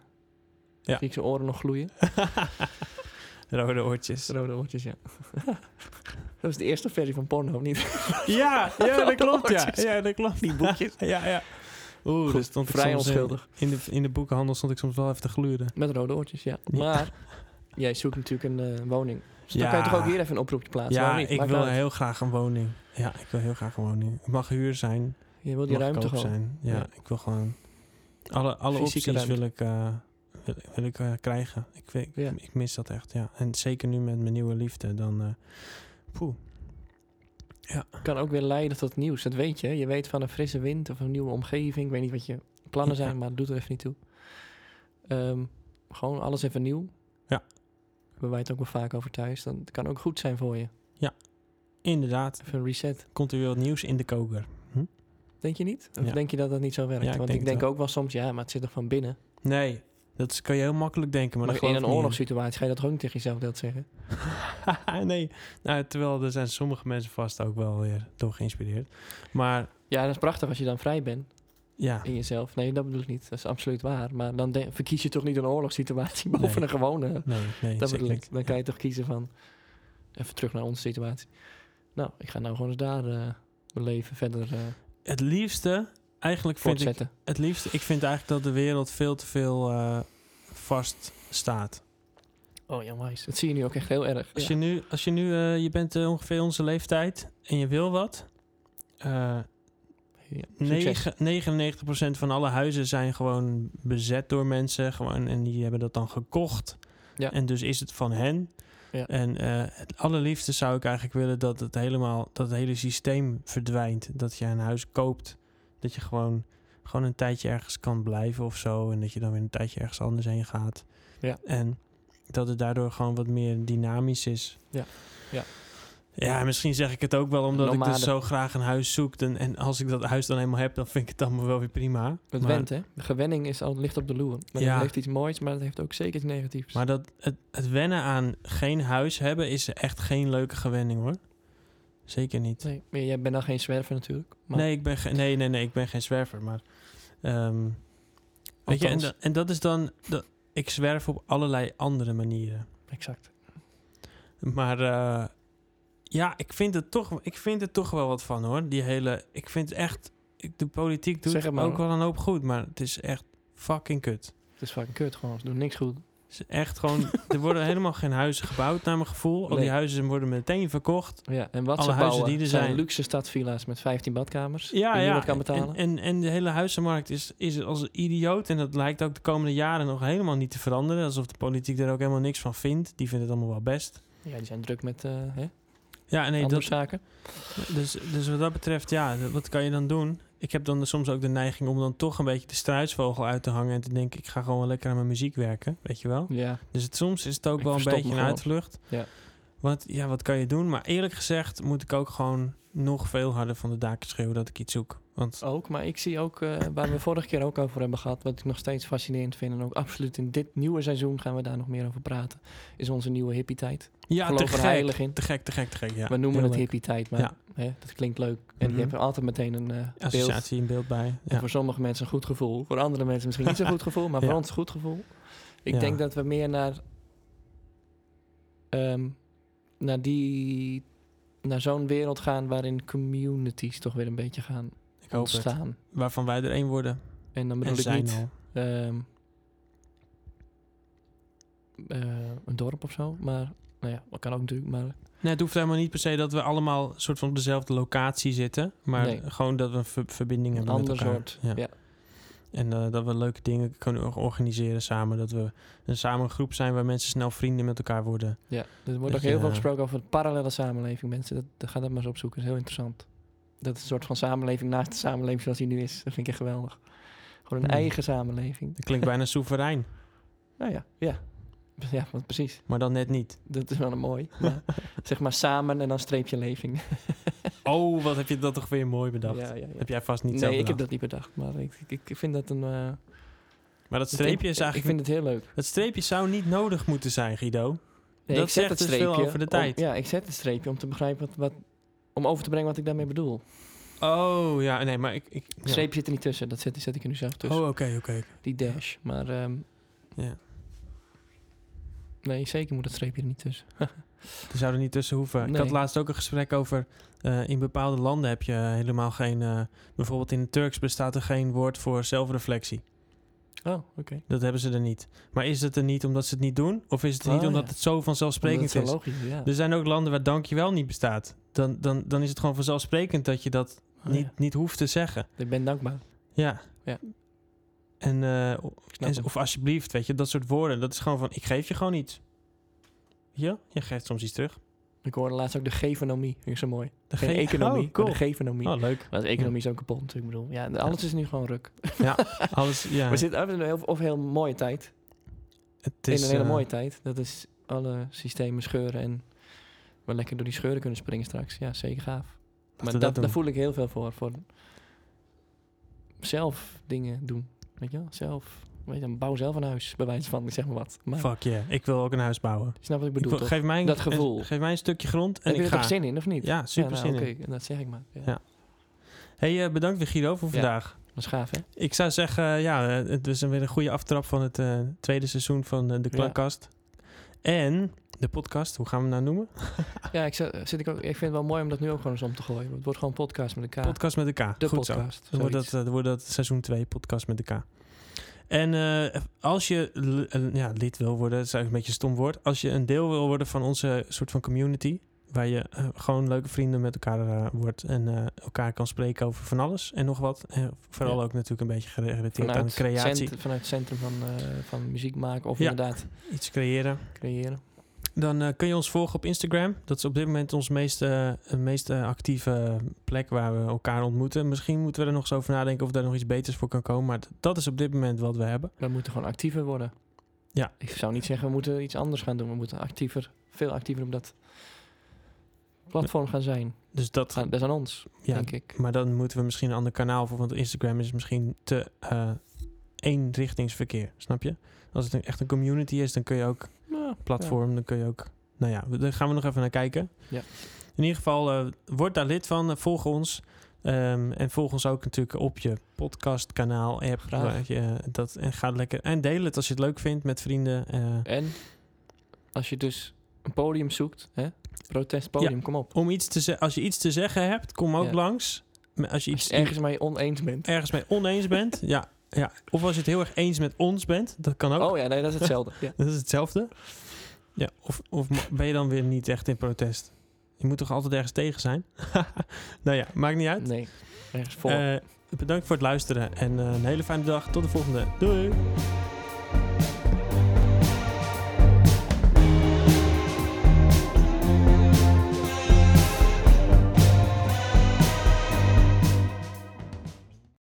[SPEAKER 1] Ja.
[SPEAKER 2] Zie ik zijn oren nog gloeien.
[SPEAKER 1] Rode oortjes.
[SPEAKER 2] Rode oortjes, ja. dat was de eerste versie van porno, niet?
[SPEAKER 1] Ja, ja, dat klopt, ja.
[SPEAKER 2] Oortjes.
[SPEAKER 1] Ja, dat klopt.
[SPEAKER 2] Die boekjes.
[SPEAKER 1] Ja, ja. Oeh,
[SPEAKER 2] Goed,
[SPEAKER 1] dat stond ik
[SPEAKER 2] vrij
[SPEAKER 1] soms, eh,
[SPEAKER 2] onschuldig.
[SPEAKER 1] In de, in de boekenhandel stond ik soms wel even te gluren.
[SPEAKER 2] Met rode oortjes, ja.
[SPEAKER 1] Ja.
[SPEAKER 2] Maar jij zoekt natuurlijk een eh, woning. Dus
[SPEAKER 1] Ja.
[SPEAKER 2] dan kan je toch ook hier even een oproepje plaatsen.
[SPEAKER 1] Ja,
[SPEAKER 2] Waarom niet?
[SPEAKER 1] ik
[SPEAKER 2] Maakt nou
[SPEAKER 1] wil
[SPEAKER 2] uit.
[SPEAKER 1] heel graag een woning. Ja, ik wil heel graag een woning. Het mag huur zijn,
[SPEAKER 2] Je wil
[SPEAKER 1] het
[SPEAKER 2] die
[SPEAKER 1] mag
[SPEAKER 2] ruimte
[SPEAKER 1] koop
[SPEAKER 2] gewoon.
[SPEAKER 1] zijn. Ja,
[SPEAKER 2] Ja.
[SPEAKER 1] ik wil gewoon... Alle, alle
[SPEAKER 2] Fysieke
[SPEAKER 1] opties
[SPEAKER 2] ruimte.
[SPEAKER 1] wil ik, eh, wil, wil ik eh, krijgen. Ik, weet- ik,
[SPEAKER 2] Ja.
[SPEAKER 1] ik mis dat echt, ja. En zeker nu met mijn nieuwe liefde, dan... eh, poeh.
[SPEAKER 2] Kan ook weer leiden tot nieuws. Dat weet je. hè. Je weet van een frisse wind of een nieuwe omgeving. Ik weet niet wat je plannen zijn,
[SPEAKER 1] Ja.
[SPEAKER 2] maar dat doet er even niet toe. Ehm, gewoon alles even nieuw.
[SPEAKER 1] Ja.
[SPEAKER 2] We wij het ook wel vaak over thuis. Dan het kan ook goed zijn voor je.
[SPEAKER 1] Inderdaad,
[SPEAKER 2] Even een reset.
[SPEAKER 1] komt er weer wat nieuws in de koker.
[SPEAKER 2] Denk je niet? Of
[SPEAKER 1] Ja.
[SPEAKER 2] denk je dat dat niet zo werkt?
[SPEAKER 1] Ja, ik
[SPEAKER 2] Want
[SPEAKER 1] denk het
[SPEAKER 2] ik denk
[SPEAKER 1] wel.
[SPEAKER 2] ook wel soms, ja, maar het zit toch van binnen.
[SPEAKER 1] Nee, dat is- kan je heel makkelijk denken. Maar,
[SPEAKER 2] Maar,
[SPEAKER 1] dat
[SPEAKER 2] in
[SPEAKER 1] geloof
[SPEAKER 2] een
[SPEAKER 1] ik niet.
[SPEAKER 2] oorlogssituatie ga je dat toch ook niet tegen jezelf dat zeggen.
[SPEAKER 1] nee, nou, terwijl er zijn sommige mensen vast ook wel weer door geïnspireerd. Maar
[SPEAKER 2] Ja, dat is prachtig als je dan vrij bent
[SPEAKER 1] ja,
[SPEAKER 2] in jezelf. Nee, dat bedoel ik niet. Dat is absoluut waar. Maar dan de- verkies je toch niet een oorlogssituatie boven
[SPEAKER 1] Nee.
[SPEAKER 2] een gewone.
[SPEAKER 1] nee, nee zeker
[SPEAKER 2] dat bedoel ik.
[SPEAKER 1] niet.
[SPEAKER 2] Dan kan je toch kiezen van, even terug naar onze situatie. Nou, ik ga nou gewoon eens daar eh, mijn leven verder eh
[SPEAKER 1] Het liefste, eigenlijk vind ik,
[SPEAKER 2] voortzetten.
[SPEAKER 1] het liefste, ik vind eigenlijk dat de wereld veel te veel eh, vast staat.
[SPEAKER 2] Oh, jammer. Dat zie je nu ook echt heel erg.
[SPEAKER 1] Als
[SPEAKER 2] Ja.
[SPEAKER 1] je nu, als je, nu eh, je bent eh, ongeveer onze leeftijd en je wil wat. eh,
[SPEAKER 2] Ja, succes.
[SPEAKER 1] negen- 99% van alle huizen zijn gewoon bezet door mensen. Gewoon, en die hebben dat dan gekocht.
[SPEAKER 2] Ja.
[SPEAKER 1] En dus is het van hen.
[SPEAKER 2] Ja.
[SPEAKER 1] En eh, het allerliefste zou ik eigenlijk willen dat het helemaal dat het hele systeem verdwijnt. Dat je een huis koopt. Dat je gewoon, gewoon een tijdje ergens kan blijven of zo. En dat je dan weer een tijdje ergens anders heen gaat.
[SPEAKER 2] Ja.
[SPEAKER 1] En dat het daardoor gewoon wat meer dynamisch is.
[SPEAKER 2] Ja. Ja.
[SPEAKER 1] Ja, misschien zeg ik het ook wel omdat ik
[SPEAKER 2] Nomade.
[SPEAKER 1] dus zo graag een huis zoek. En, en als ik dat huis dan eenmaal heb, dan vind ik het allemaal wel weer prima.
[SPEAKER 2] Het
[SPEAKER 1] maar,
[SPEAKER 2] went, hè? De gewenning is al licht op de loer. Maar
[SPEAKER 1] Ja.
[SPEAKER 2] Het heeft iets moois, maar het heeft ook zeker iets negatiefs.
[SPEAKER 1] Maar dat, het, het wennen aan geen huis hebben is echt geen leuke gewenning hoor. Zeker niet.
[SPEAKER 2] nee, maar jij bent dan geen zwerver natuurlijk. Maar
[SPEAKER 1] Nee, ik ben ge- nee, nee, nee, ik ben geen zwerver, maar... ehm, weet je, en,
[SPEAKER 2] Althans.
[SPEAKER 1] da- en dat is dan... dat- ik zwerf op allerlei andere manieren.
[SPEAKER 2] Exact.
[SPEAKER 1] Maar eh, ja, ik vind, het toch, ik vind het toch wel wat van hoor. Die hele... Ik vind echt... ik- De politiek doet
[SPEAKER 2] Zeg het maar.
[SPEAKER 1] ook wel een hoop goed, maar het is echt fucking kut.
[SPEAKER 2] Het is fucking kut gewoon. Ze doen niks goed.
[SPEAKER 1] Het is echt gewoon... er worden helemaal geen huizen gebouwd naar mijn gevoel. Al
[SPEAKER 2] Nee.
[SPEAKER 1] die huizen worden meteen verkocht.
[SPEAKER 2] Ja, en wat
[SPEAKER 1] Alle
[SPEAKER 2] ze
[SPEAKER 1] huizen
[SPEAKER 2] bouwen
[SPEAKER 1] die er zijn.
[SPEAKER 2] zijn luxe stadvilla's met 15 badkamers.
[SPEAKER 1] Ja,
[SPEAKER 2] die
[SPEAKER 1] ja.
[SPEAKER 2] niemand kan betalen.
[SPEAKER 1] En, en, en de hele huizenmarkt is, is als een idioot. En dat lijkt ook de komende jaren nog helemaal niet te veranderen. Alsof de politiek er ook helemaal niks van vindt. Die vindt het allemaal wel best.
[SPEAKER 2] ja, die zijn druk met eh, hè,
[SPEAKER 1] Ja, nee,
[SPEAKER 2] andere
[SPEAKER 1] dat,
[SPEAKER 2] zaken.
[SPEAKER 1] dus, dus wat dat betreft, ja, d- wat kan je dan doen? Ik heb dan soms ook de neiging om dan toch een beetje de struisvogel uit te hangen. En te denken, ik ga gewoon wel lekker aan mijn muziek werken. Weet je wel?
[SPEAKER 2] Ja,
[SPEAKER 1] Dus het, soms is het ook
[SPEAKER 2] Ik
[SPEAKER 1] wel een
[SPEAKER 2] verstop
[SPEAKER 1] beetje
[SPEAKER 2] me
[SPEAKER 1] een
[SPEAKER 2] gewoon.
[SPEAKER 1] uitvlucht.
[SPEAKER 2] Ja.
[SPEAKER 1] Wat, ja, wat kan je doen? Maar eerlijk gezegd moet ik ook gewoon nog veel harder van de daken schreeuwen dat ik iets zoek. Want
[SPEAKER 2] ook. Maar ik zie ook, eh, waar we vorige keer ook over hebben gehad, wat ik nog steeds fascinerend vind. En ook absoluut in dit nieuwe seizoen gaan we daar nog meer over praten. Is onze nieuwe hippie-tijd.
[SPEAKER 1] ja,
[SPEAKER 2] Geloof
[SPEAKER 1] te
[SPEAKER 2] er
[SPEAKER 1] gek.
[SPEAKER 2] heilig in.
[SPEAKER 1] Te gek, te gek, te gek. Ja.
[SPEAKER 2] we noemen
[SPEAKER 1] Heel
[SPEAKER 2] het
[SPEAKER 1] leuk.
[SPEAKER 2] hippie-tijd, maar
[SPEAKER 1] Ja.
[SPEAKER 2] hè, dat klinkt leuk. En
[SPEAKER 1] Mhm.
[SPEAKER 2] die hebben altijd meteen een eh, beeld.
[SPEAKER 1] associatie in beeld bij.
[SPEAKER 2] En
[SPEAKER 1] Ja.
[SPEAKER 2] voor sommige mensen een goed gevoel. Voor andere mensen misschien niet zo'n goed gevoel, maar voor
[SPEAKER 1] Ja.
[SPEAKER 2] ons een goed gevoel. Ik
[SPEAKER 1] Ja.
[SPEAKER 2] denk dat we meer naar, ehm, naar, die, naar zo'n wereld gaan waarin communities toch weer een beetje gaan
[SPEAKER 1] Ik hoop het.
[SPEAKER 2] ontstaan.
[SPEAKER 1] Waarvan wij er één worden.
[SPEAKER 2] En dan
[SPEAKER 1] En
[SPEAKER 2] bedoel ik
[SPEAKER 1] zijn
[SPEAKER 2] niet
[SPEAKER 1] al.
[SPEAKER 2] ehm, eh, een dorp of zo, maar nou ja, dat kan ook natuurlijk. Maar
[SPEAKER 1] Nee, het hoeft helemaal niet per se dat we allemaal soort van op dezelfde locatie zitten. Maar
[SPEAKER 2] Nee.
[SPEAKER 1] gewoon dat we een ver- verbinding
[SPEAKER 2] een
[SPEAKER 1] hebben
[SPEAKER 2] ander
[SPEAKER 1] met elkaar.
[SPEAKER 2] soort. Ja.
[SPEAKER 1] En eh, dat we leuke dingen kunnen or- organiseren samen. Dat we een samen groep zijn waar mensen snel vrienden met elkaar worden.
[SPEAKER 2] Ja, er
[SPEAKER 1] Dat
[SPEAKER 2] wordt ook
[SPEAKER 1] je- eh,
[SPEAKER 2] heel veel gesproken over de parallele samenleving, mensen. Dat, dat- ga dat maar eens opzoeken, dat is heel interessant. Dat is een soort van samenleving naast de samenleving zoals die nu is. Dat vind ik echt geweldig. Gewoon een
[SPEAKER 1] Hmm.
[SPEAKER 2] eigen samenleving.
[SPEAKER 1] Dat klinkt bijna soeverein,
[SPEAKER 2] Nou ja, ja. Ja, want precies.
[SPEAKER 1] maar dan net niet.
[SPEAKER 2] Dat is wel een mooi. Maar zeg maar samen en dan streepje leving.
[SPEAKER 1] Oh, wat heb je dat toch weer mooi bedacht.
[SPEAKER 2] Ja, ja, ja.
[SPEAKER 1] Heb jij vast niet zelf
[SPEAKER 2] Nee, ik heb
[SPEAKER 1] bedacht.
[SPEAKER 2] dat niet bedacht. Maar ik, ik, ik vind dat een... eh,
[SPEAKER 1] Maar dat streepje is
[SPEAKER 2] ik- Ik
[SPEAKER 1] eigenlijk...
[SPEAKER 2] vind het heel leuk.
[SPEAKER 1] Dat streepje zou niet nodig moeten zijn, Guido.
[SPEAKER 2] Nee,
[SPEAKER 1] Dat
[SPEAKER 2] ik zet
[SPEAKER 1] zegt
[SPEAKER 2] het
[SPEAKER 1] dus veel
[SPEAKER 2] streepje
[SPEAKER 1] over de
[SPEAKER 2] om-
[SPEAKER 1] tijd.
[SPEAKER 2] ja, ik zet het streepje om te begrijpen wat, wat... Om over te brengen wat ik daarmee bedoel.
[SPEAKER 1] Oh, ja, nee, maar ik... ik ja.
[SPEAKER 2] Het streepje zit er niet tussen. Dat zet, zet ik er nu zelf tussen.
[SPEAKER 1] Oh, oké, oké. oké.
[SPEAKER 2] Die dash. Maar ehm,
[SPEAKER 1] Ja.
[SPEAKER 2] nee, zeker moet dat streepje er niet tussen.
[SPEAKER 1] Die zouden niet tussen hoeven. Ik
[SPEAKER 2] Nee.
[SPEAKER 1] had laatst ook een gesprek over. eh, in bepaalde landen heb je helemaal geen. eh, bijvoorbeeld in het Turks bestaat er geen woord voor zelfreflectie.
[SPEAKER 2] Oh, oké.
[SPEAKER 1] Dat hebben ze er niet. Maar is het er niet omdat ze het niet doen? Of is het er niet
[SPEAKER 2] Oh,
[SPEAKER 1] omdat
[SPEAKER 2] ja.
[SPEAKER 1] het zo vanzelfsprekend
[SPEAKER 2] dat is
[SPEAKER 1] is?
[SPEAKER 2] wel logisch, ja.
[SPEAKER 1] Er zijn ook landen waar dankjewel niet bestaat. Dan, dan, dan is het gewoon vanzelfsprekend dat je dat
[SPEAKER 2] Oh,
[SPEAKER 1] niet,
[SPEAKER 2] ja.
[SPEAKER 1] niet hoeft te zeggen.
[SPEAKER 2] Ik ben dankbaar.
[SPEAKER 1] Ja.
[SPEAKER 2] Ja. Nou,
[SPEAKER 1] En, eh, o-
[SPEAKER 2] Ik snap
[SPEAKER 1] en-
[SPEAKER 2] hem.
[SPEAKER 1] of alsjeblieft, weet je, dat soort woorden. Dat is gewoon van: ik geef je gewoon iets. Ja, je geeft soms iets terug.
[SPEAKER 2] Ik hoorde laatst ook de gevenomie. Vind ik zo mooi.
[SPEAKER 1] De
[SPEAKER 2] Geen economie,
[SPEAKER 1] Oh, cool.
[SPEAKER 2] maar de gevenomie.
[SPEAKER 1] Oh, leuk.
[SPEAKER 2] Maar de economie is ook kapot natuurlijk. Ik bedoel, ja, de- alles is nu gewoon ruk.
[SPEAKER 1] Alles, ja.
[SPEAKER 2] We zitten in een heel, of heel mooie tijd.
[SPEAKER 1] Het
[SPEAKER 2] in een hele
[SPEAKER 1] eh,
[SPEAKER 2] mooie tijd. Dat is alle systemen scheuren en we lekker door die scheuren kunnen springen straks. Ja, zeker gaaf.
[SPEAKER 1] we
[SPEAKER 2] Maar
[SPEAKER 1] dat
[SPEAKER 2] dat,
[SPEAKER 1] doen.
[SPEAKER 2] daar voel ik heel veel voor. voor zelf dingen doen. Weet je wel? Zelf. Weet je, bouw zelf een huis, bij wijze van, ik zeg maar wat. Maar,
[SPEAKER 1] Fuck yeah, ik wil ook een huis bouwen.
[SPEAKER 2] je snapt wat ik
[SPEAKER 1] Ik
[SPEAKER 2] bedoel,
[SPEAKER 1] wil-
[SPEAKER 2] toch?
[SPEAKER 1] geef, mij een,
[SPEAKER 2] Dat gevoel.
[SPEAKER 1] Geef mij een stukje grond en
[SPEAKER 2] Heb je
[SPEAKER 1] ik
[SPEAKER 2] er
[SPEAKER 1] ga.
[SPEAKER 2] toch zin in, of niet?
[SPEAKER 1] Ja, super
[SPEAKER 2] nou,
[SPEAKER 1] zin in.
[SPEAKER 2] Oké, dat zeg ik maar. Ja.
[SPEAKER 1] Ja. Hey, eh, bedankt weer Guido voor
[SPEAKER 2] Ja.
[SPEAKER 1] vandaag.
[SPEAKER 2] Dat is gaaf, hè?
[SPEAKER 1] Ik zou zeggen, eh, ja, eh, het is weer een goede aftrap van het eh, tweede seizoen van eh, de
[SPEAKER 2] Ja.
[SPEAKER 1] Klankkast. En de podcast, hoe gaan we hem nou noemen?
[SPEAKER 2] Ja, ik, zit, zit ik, ook, ik vind het wel mooi om dat nu ook gewoon eens om te gooien. Het wordt gewoon podcast met elkaar.
[SPEAKER 1] Podcast met de K.
[SPEAKER 2] de
[SPEAKER 1] Goed zo.
[SPEAKER 2] podcast.
[SPEAKER 1] Dan wordt
[SPEAKER 2] zoiets.
[SPEAKER 1] dat, eh, dan wordt dat seizoen 2, podcast met de K. En eh, als je l- eh, ja, lid wil worden, dat is eigenlijk een beetje een stom woord. Als je een deel wil worden van onze soort van community, waar je eh, gewoon leuke vrienden met elkaar eh, wordt en eh, elkaar kan spreken over van alles en nog wat. En vooral
[SPEAKER 2] Ja.
[SPEAKER 1] ook natuurlijk eh, een beetje gerelateerd aan
[SPEAKER 2] vanuit,
[SPEAKER 1] creatie.
[SPEAKER 2] cent- vanuit het centrum van, eh, van muziek maken of
[SPEAKER 1] Ja.
[SPEAKER 2] inderdaad
[SPEAKER 1] Iets creëren.
[SPEAKER 2] creëren.
[SPEAKER 1] Dan eh, kun je ons volgen op Instagram. Dat is op dit moment ons meest, eh, meest eh, actieve plek waar we elkaar ontmoeten. Misschien moeten we er nog eens over nadenken of daar nog iets beters voor kan komen. Maar d- dat is op dit moment wat we hebben.
[SPEAKER 2] We moeten gewoon actiever worden.
[SPEAKER 1] Ja.
[SPEAKER 2] Ik zou niet zeggen we moeten iets anders gaan doen. We moeten actiever, veel actiever op dat platform gaan zijn.
[SPEAKER 1] Dus dat,
[SPEAKER 2] Aan- Dat is aan ons,
[SPEAKER 1] ja,
[SPEAKER 2] denk ik.
[SPEAKER 1] maar dan moeten we misschien een ander kanaal voor, want Instagram is misschien te eh eenrichtingsverkeer, snap je? Als het een, echt een community is, dan kun je ook
[SPEAKER 2] Ja,
[SPEAKER 1] platform, dan kun je ook, nou ja, we- daar gaan we nog even naar kijken.
[SPEAKER 2] Ja.
[SPEAKER 1] In ieder geval, eh, word daar lid van, eh, volg ons ehm, en volg ons ook natuurlijk op je podcastkanaal app.
[SPEAKER 2] Graag.
[SPEAKER 1] waar je eh, dat, en ga lekker en deel het als je het leuk vindt met vrienden. eh,
[SPEAKER 2] En als je dus een podium zoekt, hè? protestpodium, kom op.
[SPEAKER 1] om iets te ze- als je iets te zeggen hebt, kom ook
[SPEAKER 2] Ja.
[SPEAKER 1] langs. Maar Als je
[SPEAKER 2] Als
[SPEAKER 1] iets
[SPEAKER 2] je het ergens mee oneens bent.
[SPEAKER 1] ergens mee oneens bent. Ja, ja. Of als je het heel erg eens met ons bent. Dat kan ook.
[SPEAKER 2] Oh ja, nee, dat is hetzelfde. ja.
[SPEAKER 1] Dat is hetzelfde. Ja, of, of ma- ben je dan weer niet echt in protest? Je moet toch altijd ergens tegen zijn? nou ja, maakt niet uit.
[SPEAKER 2] Nee, ergens voor.
[SPEAKER 1] Eh, bedankt voor het luisteren en eh, een hele fijne dag. Tot de volgende. Doei!